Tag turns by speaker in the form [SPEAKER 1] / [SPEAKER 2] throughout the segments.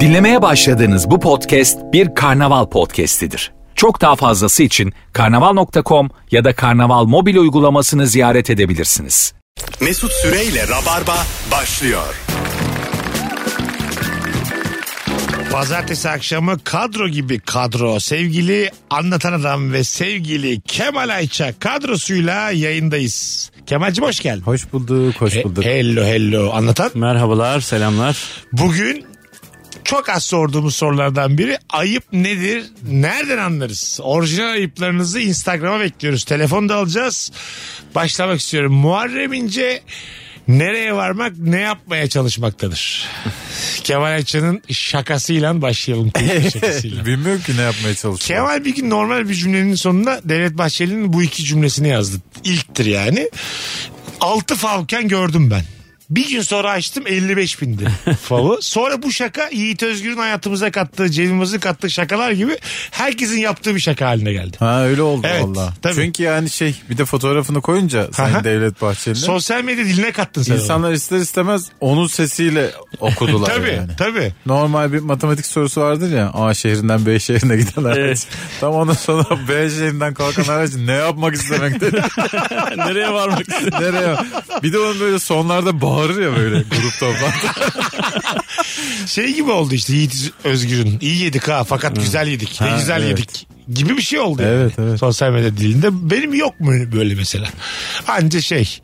[SPEAKER 1] Dinlemeye başladığınız bu podcast bir karnaval podcastidir. Çok daha fazlası için karnaval.com ya da karnaval mobil uygulamasını ziyaret edebilirsiniz.
[SPEAKER 2] Mesut Süreyle Rabarba başlıyor.
[SPEAKER 3] Pazartesi akşamı kadro gibi kadro. Sevgili Anlatan Adam ve sevgili Kemal Ayça kadrosuyla yayındayız. Kemal'cim hoş geldin.
[SPEAKER 4] Hoş bulduk, hoş
[SPEAKER 3] He-
[SPEAKER 4] bulduk.
[SPEAKER 3] hello hello anlatan.
[SPEAKER 4] Merhabalar, selamlar.
[SPEAKER 3] Bugün çok az sorduğumuz sorulardan biri ayıp nedir? Nereden anlarız? Orijinal ayıplarınızı Instagram'a bekliyoruz. Telefonu da alacağız. Başlamak istiyorum. Muharrem İnce nereye varmak ne yapmaya çalışmaktadır? Kemal Ayça'nın şakasıyla başlayalım. Şakasıyla.
[SPEAKER 4] Bilmiyorum ki ne yapmaya çalışıyor.
[SPEAKER 3] Kemal bir gün normal bir cümlenin sonuna Devlet Bahçeli'nin bu iki cümlesini yazdı. İlktir yani. Altı favken gördüm ben. Bir gün sonra açtım 55 bindi favı. Sonra bu şaka Yiğit Özgür'ün hayatımıza kattığı, cebimize kattığı şakalar gibi herkesin yaptığı bir şaka haline geldi.
[SPEAKER 4] Ha öyle oldu
[SPEAKER 3] Evet,
[SPEAKER 4] valla.
[SPEAKER 3] tabii.
[SPEAKER 4] Çünkü yani şey bir de fotoğrafını koyunca
[SPEAKER 3] Aha.
[SPEAKER 4] Sayın Devlet Bahçeli'nin
[SPEAKER 3] Sosyal medya diline kattın sen onu.
[SPEAKER 4] insanlar ister istemez onun sesiyle okudular
[SPEAKER 3] Tabii
[SPEAKER 4] yani.
[SPEAKER 3] tabii.
[SPEAKER 4] Normal bir matematik sorusu vardır ya A şehrinden B şehrine giden araç. Tam ondan sonra B şehrinden kalkan araç ne yapmak istemektedir.
[SPEAKER 5] Nereye varmak istedim?
[SPEAKER 4] Nereye? Bir de onun böyle sonlarda bağırır ya böyle grup toplantı.
[SPEAKER 3] Şey gibi oldu işte Yiğit Özgür'ün. İyi yedik ha fakat güzel yedik. Ne
[SPEAKER 4] Ha,
[SPEAKER 3] güzel
[SPEAKER 4] evet.
[SPEAKER 3] yedik gibi bir şey oldu.
[SPEAKER 4] Evet,
[SPEAKER 3] yani.
[SPEAKER 4] evet.
[SPEAKER 3] Sosyal medya dilinde. Benim yok mu böyle mesela? Anca şey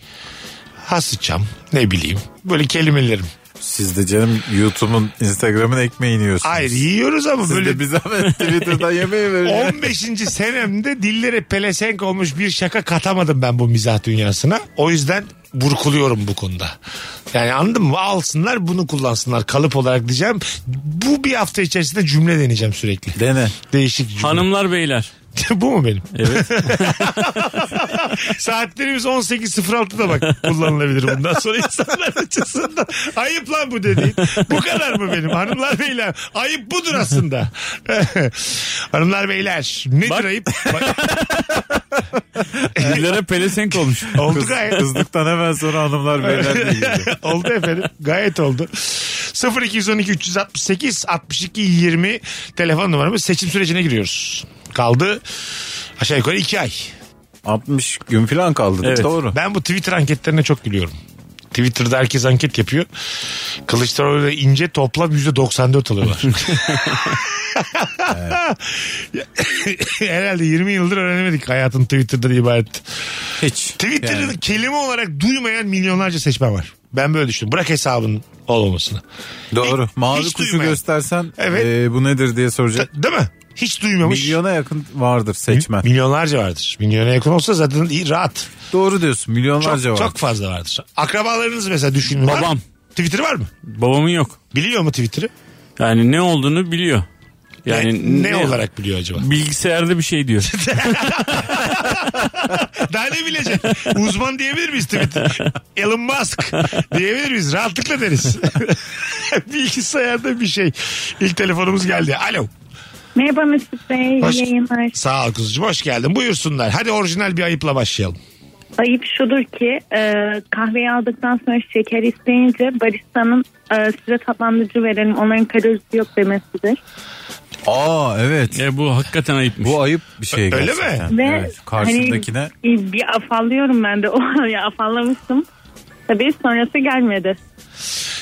[SPEAKER 3] hasıçam ne bileyim böyle kelimelerim.
[SPEAKER 4] Siz de canım YouTube'un Instagram'ın ekmeğini yiyorsunuz.
[SPEAKER 3] Hayır yiyoruz ama
[SPEAKER 4] Siz
[SPEAKER 3] böyle
[SPEAKER 4] de bir zahmet Twitter'dan yemeği verin. ya.
[SPEAKER 3] 15. senemde dillere pelesenk olmuş bir şaka katamadım ben bu mizah dünyasına. O yüzden burkuluyorum bu konuda. Yani anladın mı? Alsınlar bunu kullansınlar kalıp olarak diyeceğim. Bu bir hafta içerisinde cümle deneyeceğim sürekli.
[SPEAKER 4] Dene.
[SPEAKER 3] Değişik cümle.
[SPEAKER 5] Hanımlar beyler.
[SPEAKER 3] bu mu benim?
[SPEAKER 5] Evet.
[SPEAKER 3] Saatlerimiz 18.06'da bak kullanılabilir bundan sonra insanlar açısından. Ayıp lan bu dediğin. Bu kadar mı benim hanımlar beyler? Ayıp budur aslında. hanımlar beyler nedir
[SPEAKER 5] Bak.
[SPEAKER 3] ayıp? Bak,
[SPEAKER 5] Dillere pelesenk olmuş.
[SPEAKER 3] oldu
[SPEAKER 4] Kız-
[SPEAKER 3] gayet.
[SPEAKER 4] kızlıktan hemen sonra hanımlar beyler diye girdi.
[SPEAKER 3] oldu efendim. Gayet oldu. 0212 368 62 20 telefon numaramız seçim sürecine giriyoruz. Kaldı aşağı yukarı 2 ay.
[SPEAKER 4] 60 gün falan kaldı.
[SPEAKER 5] Evet.
[SPEAKER 4] Doğru.
[SPEAKER 3] Ben bu Twitter anketlerine çok gülüyorum. Twitter'da herkes anket yapıyor. Kılıçdaroğlu ile ince toplam %94 alıyorlar. Herhalde 20 yıldır öğrenemedik hayatın Twitter'dan ibaret.
[SPEAKER 4] Hiç.
[SPEAKER 3] Twitter'ı kelime olarak duymayan milyonlarca seçmen var. Ben böyle düşünüyorum. Bırak hesabın olmamasını.
[SPEAKER 4] Doğru. Mavi
[SPEAKER 3] hiç
[SPEAKER 4] kuşu
[SPEAKER 3] duymayan.
[SPEAKER 4] göstersen
[SPEAKER 3] Evet.
[SPEAKER 4] e, bu nedir diye soracak.
[SPEAKER 3] Ta- Değil mi? Hiç duymamış.
[SPEAKER 4] Milyona yakın vardır seçmen.
[SPEAKER 3] Milyonlarca vardır. Milyona yakın olsa zaten iyi, rahat.
[SPEAKER 4] Doğru diyorsun.
[SPEAKER 3] Çok,
[SPEAKER 4] Milyonlarca var.
[SPEAKER 3] çok fazla vardır. Akrabalarınız mesela düşünün. Var
[SPEAKER 5] Babam.
[SPEAKER 3] mı? Twitter var mı?
[SPEAKER 5] Babamın yok.
[SPEAKER 3] Biliyor mu Twitter'ı?
[SPEAKER 5] Yani ne olduğunu biliyor. Yani
[SPEAKER 3] ne, ne olarak biliyor acaba?
[SPEAKER 5] Bilgisayarda bir şey diyor.
[SPEAKER 3] Daha ne bilecek? Uzman diyebilir miyiz Twitter? Elon Musk diyebilir miyiz? Rahatlıkla deriz. Bilgisayarda bir şey. İlk telefonumuz geldi. Alo.
[SPEAKER 6] Merhaba Mesut Bey,
[SPEAKER 3] Hoş-
[SPEAKER 6] iyi yayınlar.
[SPEAKER 3] Sağ ol kuzucuğum. Hoş geldin. Buyursunlar. Hadi orijinal bir ayıpla başlayalım.
[SPEAKER 6] Ayıp şudur ki e, kahveyi aldıktan sonra şeker isteyince baristanın e, size tatlandırıcı verelim onların kalorisi yok demesidir.
[SPEAKER 4] Aa evet.
[SPEAKER 5] e, bu hakikaten ayıpmış.
[SPEAKER 4] Bu ayıp bir şey
[SPEAKER 3] Öyle mi?
[SPEAKER 4] gerçekten.
[SPEAKER 6] Ve
[SPEAKER 4] Evet. Karşındakine
[SPEAKER 6] hani, bir afallıyorum ben de o ya afallamıştım. Tabii sonrası gelmedi.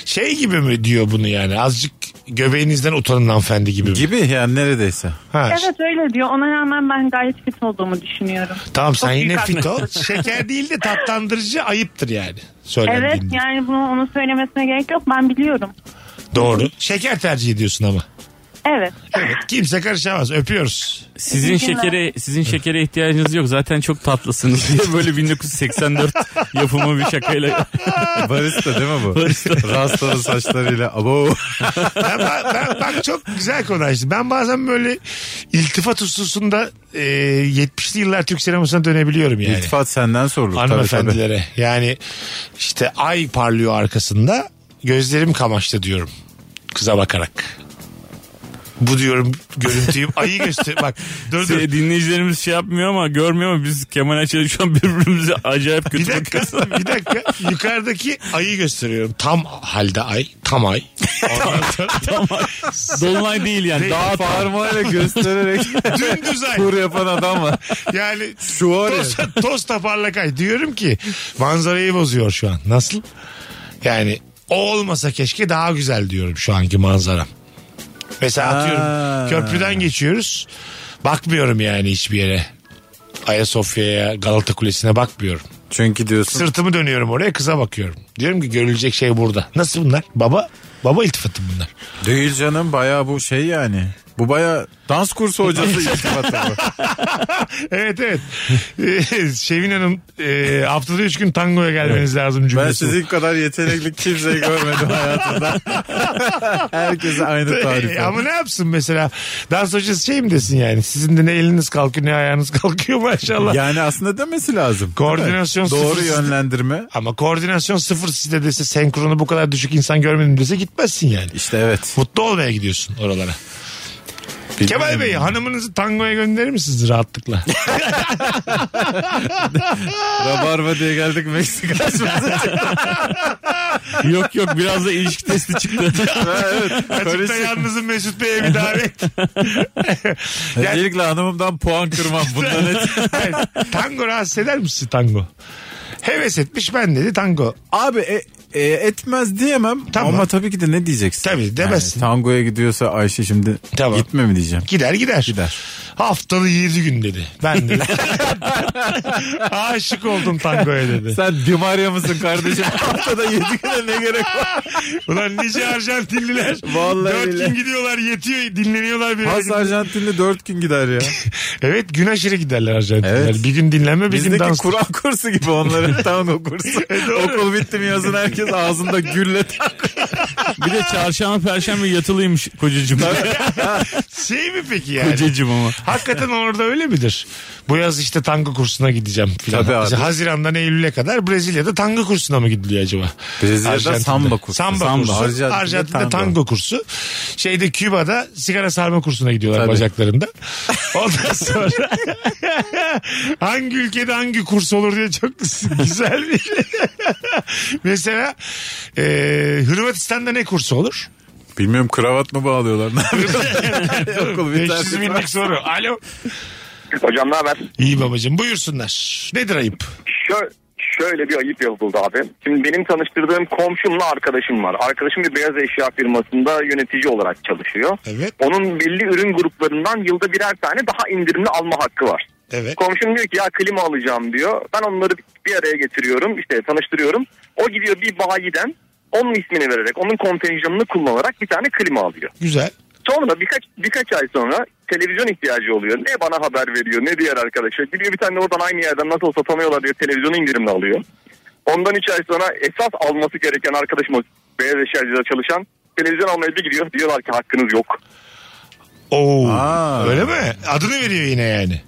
[SPEAKER 3] Şey gibi mi diyor bunu yani? Azıcık göbeğinizden utanın hanımefendi gibi mi?
[SPEAKER 4] gibi yani neredeyse.
[SPEAKER 3] Ha,
[SPEAKER 6] Evet öyle diyor. Ona rağmen ben gayet fit olduğumu düşünüyorum.
[SPEAKER 3] Tamam sen
[SPEAKER 6] Çok
[SPEAKER 3] yine
[SPEAKER 6] büyük
[SPEAKER 3] fit ol. Şeker değil de tatlandırıcı ayıptır yani. Söylendiğinde.
[SPEAKER 6] Evet yani bunu onun söylemesine gerek yok. Ben biliyorum.
[SPEAKER 3] Doğru. Şeker tercih ediyorsun ama.
[SPEAKER 6] Evet.
[SPEAKER 3] Evet, kimse karışamaz. Öpüyoruz.
[SPEAKER 5] Sizin şekere sizin şekere ihtiyacınız yok. Zaten çok tatlısınız diye böyle 1984 yapımı bir şakayla.
[SPEAKER 4] Barista değil mi bu? Rastalı saçlarıyla. Abo.
[SPEAKER 3] ben, ben, ben- bak çok güzel konu açtın. Ben bazen böyle iltifat hususunda e, 70'li yıllar Türk sinemasına dönebiliyorum yani.
[SPEAKER 4] İltifat senden sorulur. tabii, tabii.
[SPEAKER 3] Hanımefendilere. Yani işte ay parlıyor arkasında gözlerim kamaştı diyorum kıza bakarak. Bu diyorum görüntüyü ayı göster. Bak dur dur.
[SPEAKER 5] Se- dinleyicilerimiz şey yapmıyor ama görmüyor ama biz Kemal Ayça'yla şu an birbirimize acayip
[SPEAKER 3] Bir
[SPEAKER 5] kötü
[SPEAKER 3] dakika,
[SPEAKER 5] bakıyoruz.
[SPEAKER 3] bir dakika. Yukarıdaki ayı gösteriyorum. Tam halde ay, tam ay. Ondan sonra
[SPEAKER 5] Dolunay değil yani. Daha
[SPEAKER 4] Parmağıyla göstererek
[SPEAKER 3] dümdüz ay.
[SPEAKER 4] kur yapan adam var.
[SPEAKER 3] Yani
[SPEAKER 4] Şu var ya.
[SPEAKER 3] toz, toz taparlak ay. Diyorum ki manzarayı bozuyor şu an. Nasıl? Yani o olmasa keşke daha güzel diyorum şu anki manzaram. Mesela atıyorum
[SPEAKER 4] Ha.
[SPEAKER 3] köprüden geçiyoruz. Bakmıyorum yani hiçbir yere. Ayasofya'ya, Galata Kulesi'ne bakmıyorum.
[SPEAKER 4] Çünkü diyorsun
[SPEAKER 3] Sırtımı dönüyorum oraya kıza bakıyorum. Diyorum ki görülecek şey burada. Nasıl bunlar? Baba Baba iltifatı bunlar.
[SPEAKER 4] değil canım baya bu şey yani. Bu baya dans kursu hocası iltifatı bu.
[SPEAKER 3] Evet evet. Ee, Şevin Hanım e, haftada üç gün tangoya gelmeniz lazım
[SPEAKER 4] Ben
[SPEAKER 3] cümlesi.
[SPEAKER 4] sizin kadar yetenekli kimseyi görmedim hayatımda. Herkese aynı tarif.
[SPEAKER 3] Ee, Ama ne yapsın mesela? Dans hocası şey mi desin yani? Sizin de ne eliniz kalkıyor ne ayağınız kalkıyor maşallah.
[SPEAKER 4] Yani aslında demesi lazım. değil mi?
[SPEAKER 3] Koordinasyon
[SPEAKER 4] Doğru
[SPEAKER 3] sıfır.
[SPEAKER 4] yönlendirme.
[SPEAKER 3] Ama koordinasyon sıfır sizde dese senkronu bu kadar düşük insan görmedim dese gitmezsin yani.
[SPEAKER 4] İşte evet.
[SPEAKER 3] Mutlu olmaya gidiyorsun oralara. Kemal Bey hanımınızı tangoya gönderir misiniz rahatlıkla?
[SPEAKER 4] Rabarba diye geldik Meksika.
[SPEAKER 5] yok yok biraz da ilişki testi çıktı.
[SPEAKER 3] Açıkta yalnızın Mesut Bey'e bir davet.
[SPEAKER 4] Öncelikle hanımımdan puan kırmam. Bundan net.
[SPEAKER 3] Yani tango rahatsız eder misin tango? Heves etmiş ben dedi tango.
[SPEAKER 4] Abi e, e, etmez diyemem
[SPEAKER 3] Tamam.
[SPEAKER 4] ama tabii ki de ne diyeceksin?
[SPEAKER 3] Tabii, demezsin.
[SPEAKER 4] Yani tangoya gidiyorsa Ayşe şimdi
[SPEAKER 3] Tamam.
[SPEAKER 4] gitme mi diyeceğim?
[SPEAKER 3] Gider gider.
[SPEAKER 4] Gider.
[SPEAKER 3] Haftalı 7 gün dedi. Ben de. Aşık oldum tangoya dedi.
[SPEAKER 4] Sen Dimaria mısın kardeşim? Haftada yedi güne ne gerek var?
[SPEAKER 3] Ulan nice Arjantinliler.
[SPEAKER 4] Vallahi
[SPEAKER 3] 4
[SPEAKER 4] billahi.
[SPEAKER 3] gün gidiyorlar yetiyor dinleniyorlar bir yere.
[SPEAKER 4] Has Arjantin'de dört gün gider ya.
[SPEAKER 3] Evet gün aşırı giderler Arjantinliler.
[SPEAKER 4] Evet.
[SPEAKER 3] Bir gün dinlenme bir gün
[SPEAKER 4] Bizdeki
[SPEAKER 3] dans.
[SPEAKER 4] Kur'an kursu gibi onların tango kursu.
[SPEAKER 3] E,
[SPEAKER 4] Okul bitti mi yazın herkes ağzında gülle
[SPEAKER 5] bir de çarşamba perşembe yatılıymış kocacığım.
[SPEAKER 3] Şey mi peki yani?
[SPEAKER 5] kocacığım ama.
[SPEAKER 3] Hakikaten orada öyle midir? Bu yaz işte tango kursuna gideceğim filan.
[SPEAKER 4] Tabii abi.
[SPEAKER 3] İşte Haziran'dan Eylül'e kadar Brezilya'da tango kursuna mı gidiliyor acaba?
[SPEAKER 4] Brezilya'da
[SPEAKER 3] Arjantin'de.
[SPEAKER 4] samba kursu.
[SPEAKER 3] Samba,
[SPEAKER 4] Samba.
[SPEAKER 3] kursu. Arjantin'de,
[SPEAKER 4] Arjantin'de
[SPEAKER 3] tango.
[SPEAKER 4] tango.
[SPEAKER 3] kursu. Şeyde Küba'da sigara sarma kursuna gidiyorlar
[SPEAKER 4] Tabii.
[SPEAKER 3] bacaklarında. Ondan sonra hangi ülkede hangi kurs olur diye çok güzel bir Mesela e, Hırvatistan'da ne kursu olur?
[SPEAKER 4] Bilmiyorum kravat mı bağlıyorlar? Ne yapıyorlar? Okul biter
[SPEAKER 3] 500
[SPEAKER 4] bitmez.
[SPEAKER 3] binlik soru. Alo.
[SPEAKER 7] Hocam ne haber?
[SPEAKER 3] İyi babacığım buyursunlar. Nedir ayıp?
[SPEAKER 7] Şö- şöyle bir ayıp yapıldı abi. Şimdi benim tanıştırdığım komşumla arkadaşım var. Arkadaşım bir beyaz eşya firmasında yönetici olarak çalışıyor.
[SPEAKER 3] Evet.
[SPEAKER 7] Onun belli ürün gruplarından yılda birer tane daha indirimli alma hakkı var.
[SPEAKER 3] Evet.
[SPEAKER 7] Komşum diyor ki ya klima alacağım diyor. Ben onları bir araya getiriyorum işte tanıştırıyorum. O gidiyor bir bayiden onun ismini vererek onun kontenjanını kullanarak bir tane klima alıyor.
[SPEAKER 3] Güzel.
[SPEAKER 7] Sonra birkaç birkaç ay sonra televizyon ihtiyacı oluyor. Ne bana haber veriyor ne diğer arkadaşa. Gidiyor bir tane oradan aynı yerden nasıl satamıyorlar diye televizyonu indirimle alıyor. Ondan 3 ay sonra esas alması gereken arkadaşımız beyaz eşyacıda çalışan televizyon almaya bir gidiyor. Diyorlar ki hakkınız yok.
[SPEAKER 3] Oo.
[SPEAKER 4] Aa.
[SPEAKER 3] Öyle mi? Adını veriyor yine yani.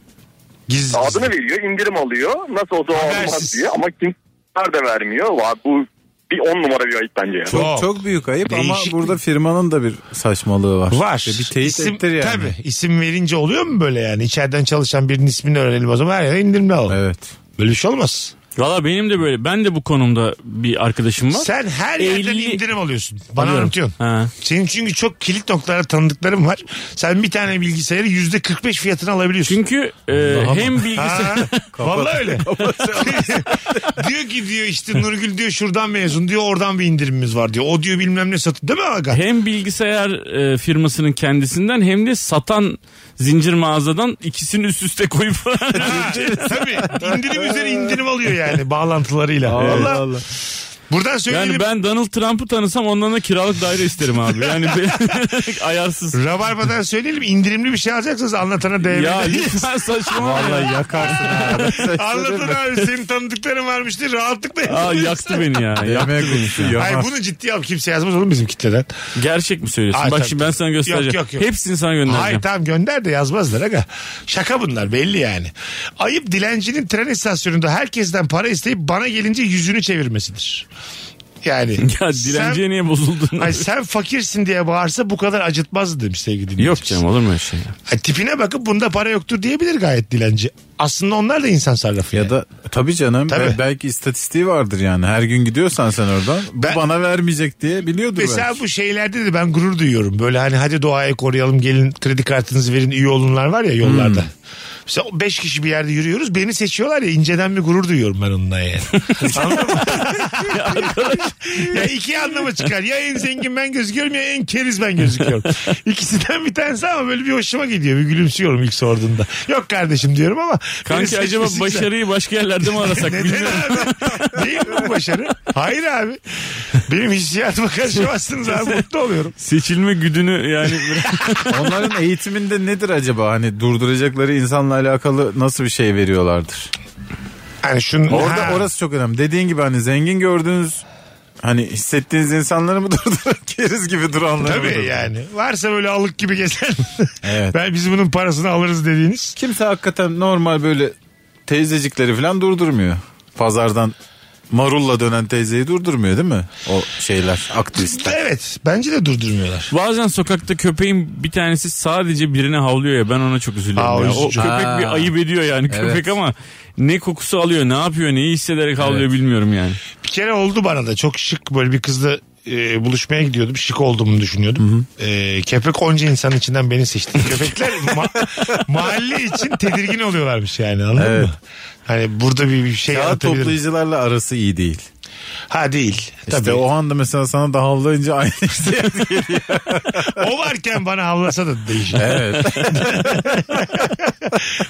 [SPEAKER 3] Gizli.
[SPEAKER 7] Adını veriyor indirim alıyor. Nasıl olsa o
[SPEAKER 3] Habersiz.
[SPEAKER 7] almaz diye ama kimler de vermiyor. Vay, bu bir on numara bir ayıp bence ya.
[SPEAKER 3] Çok.
[SPEAKER 4] Çok, çok büyük ayıp
[SPEAKER 3] Değişik
[SPEAKER 4] ama burada firmanın da bir saçmalığı var.
[SPEAKER 3] Var.
[SPEAKER 4] İşte bir teyit
[SPEAKER 3] İsim-
[SPEAKER 4] ettir yani.
[SPEAKER 3] Tabii. İsim verince oluyor mu böyle yani? İçeriden çalışan birinin ismini öğrenelim o zaman her yere indirimli alalım.
[SPEAKER 4] Evet.
[SPEAKER 3] Böyle bir şey olmaz.
[SPEAKER 5] Valla benim de böyle. Ben de bu konumda bir arkadaşım var.
[SPEAKER 3] Sen her yerden
[SPEAKER 5] Elli-
[SPEAKER 3] indirim alıyorsun. Bana
[SPEAKER 5] Alıyorum.
[SPEAKER 3] anlatıyorsun.
[SPEAKER 5] Ha.
[SPEAKER 3] Senin çünkü çok kilit noktalara tanıdıklarım var. Sen bir tane bilgisayarı yüzde 45 fiyatına alabiliyorsun.
[SPEAKER 5] Çünkü e, hem bilgisayar...
[SPEAKER 3] Ha, vallahi öyle. diyor ki diyor işte Nurgül diyor şuradan mezun diyor oradan bir indirimimiz var diyor. O diyor bilmem ne satın değil mi Aga?
[SPEAKER 5] Hem bilgisayar e, firmasının kendisinden hem de satan zincir mağazadan ikisini üst üste koyup
[SPEAKER 3] Ha, tabii indirim üzeri indirim alıyor yani bağlantılarıyla. Vallahi
[SPEAKER 4] Allah.
[SPEAKER 3] Buradan söyleyelim.
[SPEAKER 5] yani ben Donald Trump'ı tanısam ondan da kiralık daire isterim abi. Yani be- ayarsız.
[SPEAKER 3] Rabarba'dan söyleyelim indirimli bir şey alacaksanız anlatana değer.
[SPEAKER 5] ya lütfen saçmalama. ya.
[SPEAKER 4] yakarsın
[SPEAKER 3] Anlatın abi senin tanıdıkların varmıştı rahatlıkla
[SPEAKER 5] Aa,
[SPEAKER 3] yazabilirsin.
[SPEAKER 5] yaktı beni ya. yaktı
[SPEAKER 4] Yemek
[SPEAKER 5] beni.
[SPEAKER 4] konusu ya.
[SPEAKER 3] Ay bunu ciddi al kimse yazmaz oğlum bizim kitleden.
[SPEAKER 5] Gerçek mi söylüyorsun?
[SPEAKER 3] Ay,
[SPEAKER 5] Bak
[SPEAKER 3] tabii,
[SPEAKER 5] şimdi ben
[SPEAKER 3] tabii.
[SPEAKER 5] sana
[SPEAKER 3] Yok,
[SPEAKER 5] göstereceğim.
[SPEAKER 3] yok, yok.
[SPEAKER 5] Hepsini sana göndereceğim.
[SPEAKER 3] Hayır tamam gönder de yazmazlar aga. Şaka bunlar belli yani. Ayıp dilencinin tren istasyonunda herkesten para isteyip bana gelince yüzünü çevirmesidir. Yani.
[SPEAKER 5] Ya direnciye niye bozuldun?
[SPEAKER 3] Ay sen fakirsin diye bağırsa bu kadar acıtmazdı demiş sevgili dinleyicimiz.
[SPEAKER 5] Yok canım olur mu öyle şey? ya?
[SPEAKER 3] Ay, tipine bakıp bunda para yoktur diyebilir gayet dilenci. Aslında onlar da insan sarrafı.
[SPEAKER 4] Ya
[SPEAKER 3] yani.
[SPEAKER 4] da tabii canım
[SPEAKER 3] Tabii.
[SPEAKER 4] be- belki istatistiği vardır yani. Her gün gidiyorsan sen oradan bu
[SPEAKER 3] Ben-
[SPEAKER 4] bana vermeyecek diye biliyordur
[SPEAKER 3] Mesela
[SPEAKER 4] belki.
[SPEAKER 3] bu şeylerde de ben gurur duyuyorum. Böyle hani hadi doğayı koruyalım gelin kredi kartınızı verin iyi olunlar var ya yollarda. Mesela 5 kişi bir yerde yürüyoruz beni seçiyorlar ya inceden bir gurur duyuyorum ben ondan yani. Anladın mı? ya iki anlama çıkar. Ya en zengin ben gözüküyorum ya en keriz ben gözüküyorum. İkisinden bir tanesi ama böyle bir hoşuma gidiyor. Bir gülümsüyorum ilk sorduğunda. Yok kardeşim diyorum ama. beni
[SPEAKER 5] Kanki
[SPEAKER 3] seçmişsin
[SPEAKER 5] acaba
[SPEAKER 3] sen.
[SPEAKER 5] başarıyı başka yerlerde mi
[SPEAKER 3] şey.
[SPEAKER 5] arasak
[SPEAKER 3] Neden
[SPEAKER 5] bilmiyorum.
[SPEAKER 3] abi? Değil mi bu başarı? Hayır abi. Benim hissiyatıma karışamazsınız abi. Mutlu oluyorum.
[SPEAKER 5] Seçilme güdünü yani
[SPEAKER 4] Onların eğitiminde nedir acaba? Hani durduracakları insanla alakalı nasıl bir şey veriyorlardır?
[SPEAKER 3] Hani şunun,
[SPEAKER 4] Orada
[SPEAKER 3] Ha.
[SPEAKER 4] orası çok önemli. Dediğin gibi hani zengin gördüğünüz hani hissettiğiniz insanları mı durdurup keriz gibi duranları mı
[SPEAKER 3] Tabii
[SPEAKER 4] durdurun?
[SPEAKER 3] yani. Varsa böyle alık gibi gezen.
[SPEAKER 4] Evet.
[SPEAKER 3] ben biz bunun parasını alırız dediğiniz.
[SPEAKER 4] Kimse hakikaten normal böyle teyzecikleri falan durdurmuyor. Pazardan marulla dönen teyzeyi durdurmuyor değil mi? O şeyler aktivistler.
[SPEAKER 3] Evet. Bence de durdurmuyorlar.
[SPEAKER 5] Bazen sokakta köpeğin bir tanesi sadece birine havlıyor ya ben ona çok üzülüyorum.
[SPEAKER 3] Aa,
[SPEAKER 5] ya. O
[SPEAKER 3] üzücü.
[SPEAKER 5] köpek
[SPEAKER 4] Ha.
[SPEAKER 5] bir ayıp ediyor yani köpek ama ne kokusu alıyor ne yapıyor neyi hissederek havlıyor bilmiyorum yani.
[SPEAKER 3] Bir kere oldu bana da. Çok şık böyle bir kızla e, buluşmaya gidiyordum. Şık olduğumu düşünüyordum. E, köpek onca insanın içinden beni seçti. Köpekler ma- mahalle için tedirgin oluyorlarmış yani anladın
[SPEAKER 4] Evet.
[SPEAKER 3] mı? Hani burada bir, bir şey
[SPEAKER 4] Kağıt
[SPEAKER 3] anlatabilirim.
[SPEAKER 4] toplayıcılarla arası iyi değil.
[SPEAKER 3] Ha değil.
[SPEAKER 4] İşte o anda mesela sana da havlayınca aynı şey. işte.
[SPEAKER 3] O varken bana havlasa da değişir.
[SPEAKER 4] evet.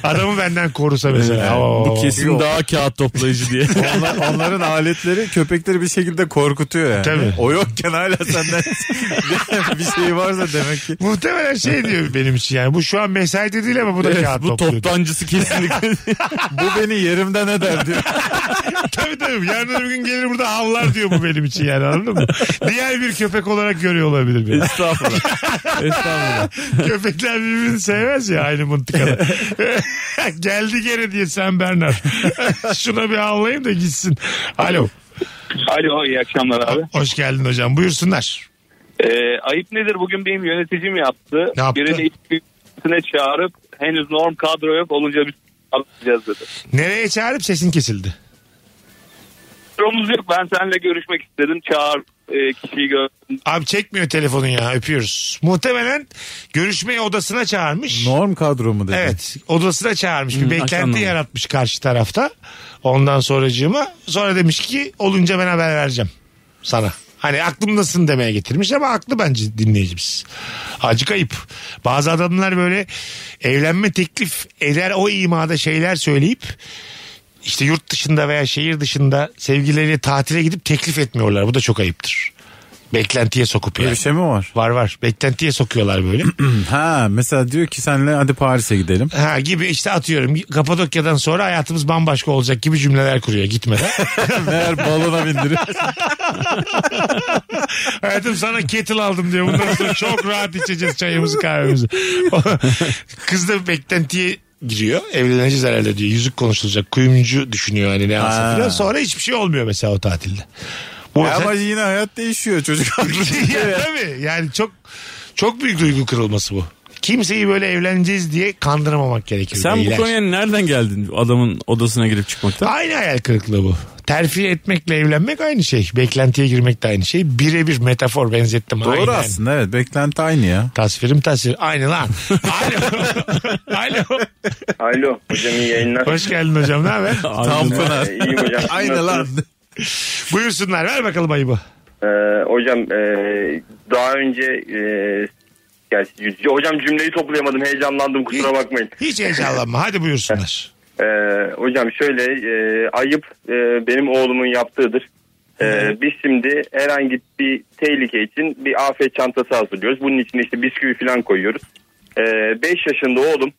[SPEAKER 3] Adamı benden korusa mesela. Oo.
[SPEAKER 5] Bu kesin
[SPEAKER 4] Yok.
[SPEAKER 5] daha kağıt toplayıcı diye.
[SPEAKER 4] Onlar- onların aletleri köpekleri bir şekilde korkutuyor yani.
[SPEAKER 3] Tabii.
[SPEAKER 4] O yokken hala senden bir şey varsa demek ki.
[SPEAKER 3] Muhtemelen şey diyor benim için yani. Bu şu an mesaide değil ama bu da
[SPEAKER 5] Evet,
[SPEAKER 3] kağıt
[SPEAKER 5] bu
[SPEAKER 3] topluyor.
[SPEAKER 5] toptancısı kesinlikle.
[SPEAKER 4] Bu beni yerimden eder diyor.
[SPEAKER 3] tabii tabii. Yarın öbür gün gelir burada havlar diyor bu benim için yani anladın mı? Diğer bir köpek olarak görüyor olabilir beni.
[SPEAKER 5] Estağfurullah. Estağfurullah.
[SPEAKER 3] Köpekler birbirini sevmez ya aynı mıntıkada. Geldi gene diye sen Bernar. Şuna bir havlayayım da gitsin. Alo.
[SPEAKER 7] Alo iyi akşamlar abi.
[SPEAKER 3] Hoş geldin hocam. Buyursunlar.
[SPEAKER 7] Ee, ayıp nedir bugün benim yöneticim yaptı.
[SPEAKER 3] Ne yaptı?
[SPEAKER 7] Birini içkisine çağırıp henüz norm kadro yok olunca biz alacağız dedi.
[SPEAKER 3] Nereye çağırıp sesin kesildi?
[SPEAKER 7] Kadromuz yok ben seninle görüşmek istedim çağır e, kişiyi gördüm.
[SPEAKER 3] Abi çekmiyor telefonun ya öpüyoruz. Muhtemelen görüşmeye odasına çağırmış.
[SPEAKER 4] Norm kadro mu dedi?
[SPEAKER 3] Evet odasına çağırmış bir beklenti
[SPEAKER 5] anladım.
[SPEAKER 3] yaratmış karşı tarafta. Ondan sonracığıma sonra demiş ki olunca ben haber vereceğim sana. Hani aklımdasın demeye getirmiş ama aklı bence dinleyicimiz. Acık ayıp. Bazı adamlar böyle evlenme teklif eder o imada şeyler söyleyip işte yurt dışında veya şehir dışında sevgilileriyle tatile gidip teklif etmiyorlar. Bu da çok ayıptır. Beklentiye sokup
[SPEAKER 4] Böyle
[SPEAKER 3] yani.
[SPEAKER 4] bir şey mi var?
[SPEAKER 3] Var var. Beklentiye sokuyorlar böyle.
[SPEAKER 4] Ha mesela diyor ki senle hadi Paris'e gidelim.
[SPEAKER 3] Ha gibi işte atıyorum Kapadokya'dan sonra hayatımız bambaşka olacak gibi cümleler kuruyor gitmeden.
[SPEAKER 4] Meğer balona bindiriyor.
[SPEAKER 3] Hayatım sana kettle aldım diyor. Bundan sonra çok rahat içeceğiz çayımızı kahvemizi. Kız da beklentiye giriyor. Evleneceğiz herhalde diyor. Yüzük konuşulacak. Kuyumcu düşünüyor hani ne alsın
[SPEAKER 4] Ha.
[SPEAKER 3] filan. Sonra hiçbir şey olmuyor mesela o tatilde. Bu
[SPEAKER 4] Ya
[SPEAKER 3] mesela-
[SPEAKER 4] E Ama yine hayat değişiyor çocuk.
[SPEAKER 3] ya, tabii yani çok çok büyük duygu kırılması bu. Kimseyi böyle evleneceğiz diye kandıramamak gerekir.
[SPEAKER 5] Sen bu
[SPEAKER 3] beyler.
[SPEAKER 5] konuya nereden geldin adamın odasına girip çıkmaktan?
[SPEAKER 3] Aynı hayal kırıklığı bu. Terfi etmekle evlenmek aynı şey. Beklentiye girmek de aynı şey. Birebir metafor benzettim. Aynı yani.
[SPEAKER 4] Doğru aslında evet beklenti aynı ya.
[SPEAKER 3] Tasvirim tasvir. Aynı lan. Alo. Alo.
[SPEAKER 7] Alo hocam iyi yayınlar.
[SPEAKER 3] Hoş geldin hocam. Ne haber?
[SPEAKER 4] Tanpınar.
[SPEAKER 7] İyi hocam.
[SPEAKER 4] Aynı lan.
[SPEAKER 3] Buyursunlar. Ver bakalım ayıbı.
[SPEAKER 7] Ee, hocam e, daha önce e, gerçi c- hocam cümleyi toplayamadım heyecanlandım kusura bakmayın.
[SPEAKER 3] Hiç heyecanlanma. Hadi buyursunlar.
[SPEAKER 7] Ee, hocam şöyle e, ayıp e, benim oğlumun yaptığıdır. Ee, biz şimdi herhangi bir tehlike için bir afet çantası hazırlıyoruz. Bunun içine işte bisküvi Ee, falan koyuyoruz. 5 yaşında oğlum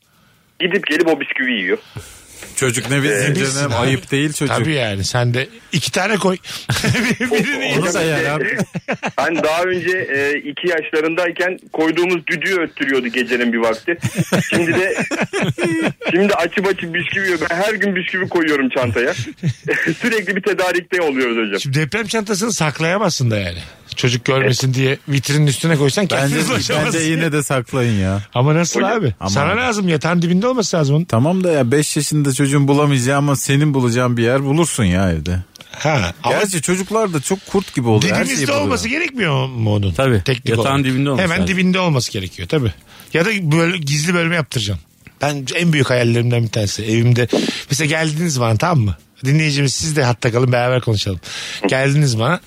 [SPEAKER 7] gidip gelip o bisküvi yiyor.
[SPEAKER 4] Çocuk ne bilsin
[SPEAKER 3] bilsin
[SPEAKER 4] canım
[SPEAKER 3] abi.
[SPEAKER 4] ayıp değil çocuk.
[SPEAKER 3] Tabii yani sen de iki tane koy. Birini iyi.
[SPEAKER 4] Onu sayar abi.
[SPEAKER 7] Hani daha önce e, iki yaşlarındayken koyduğumuz düdüğü öttürüyordu gecenin bir vakti. Şimdi de şimdi açıp açıp bisküvi yiyor. Ben her gün bisküvi koyuyorum çantaya. Sürekli bir tedarikte oluyoruz hocam.
[SPEAKER 3] Şimdi deprem çantasını saklayamazsın da yani. Çocuk görmesin diye vitrinin üstüne koysan
[SPEAKER 4] Bence,
[SPEAKER 3] kendiniz ulaşamazsın.
[SPEAKER 4] bence yine de saklayın ya.
[SPEAKER 3] Ama nasıl
[SPEAKER 7] Hocam-
[SPEAKER 3] abi?
[SPEAKER 4] Aman.
[SPEAKER 3] Sana lazım yatağın dibinde olması lazım onun.
[SPEAKER 4] Tamam da ya 5 yaşında çocuğun bulamayacağı ama senin bulacağın bir yer bulursun ya evde.
[SPEAKER 3] Ha. Ama
[SPEAKER 4] Gerçi çocuklar da çok kurt gibi oluyor. Her şeyi
[SPEAKER 3] dibimizde
[SPEAKER 4] buluyor.
[SPEAKER 3] olması gerekmiyor mu onun?
[SPEAKER 5] Tabii. Yatağın
[SPEAKER 3] olarak.
[SPEAKER 5] dibinde olması
[SPEAKER 3] Hemen
[SPEAKER 5] lazım.
[SPEAKER 3] dibinde olması gerekiyor tabii. Ya da böyle gizli bölme yaptıracağım. Ben en büyük hayallerimden bir tanesi evimde. Mesela geldiniz bana tamam mı? Dinleyicimiz siz de hatta kalın beraber konuşalım. Geldiniz bana.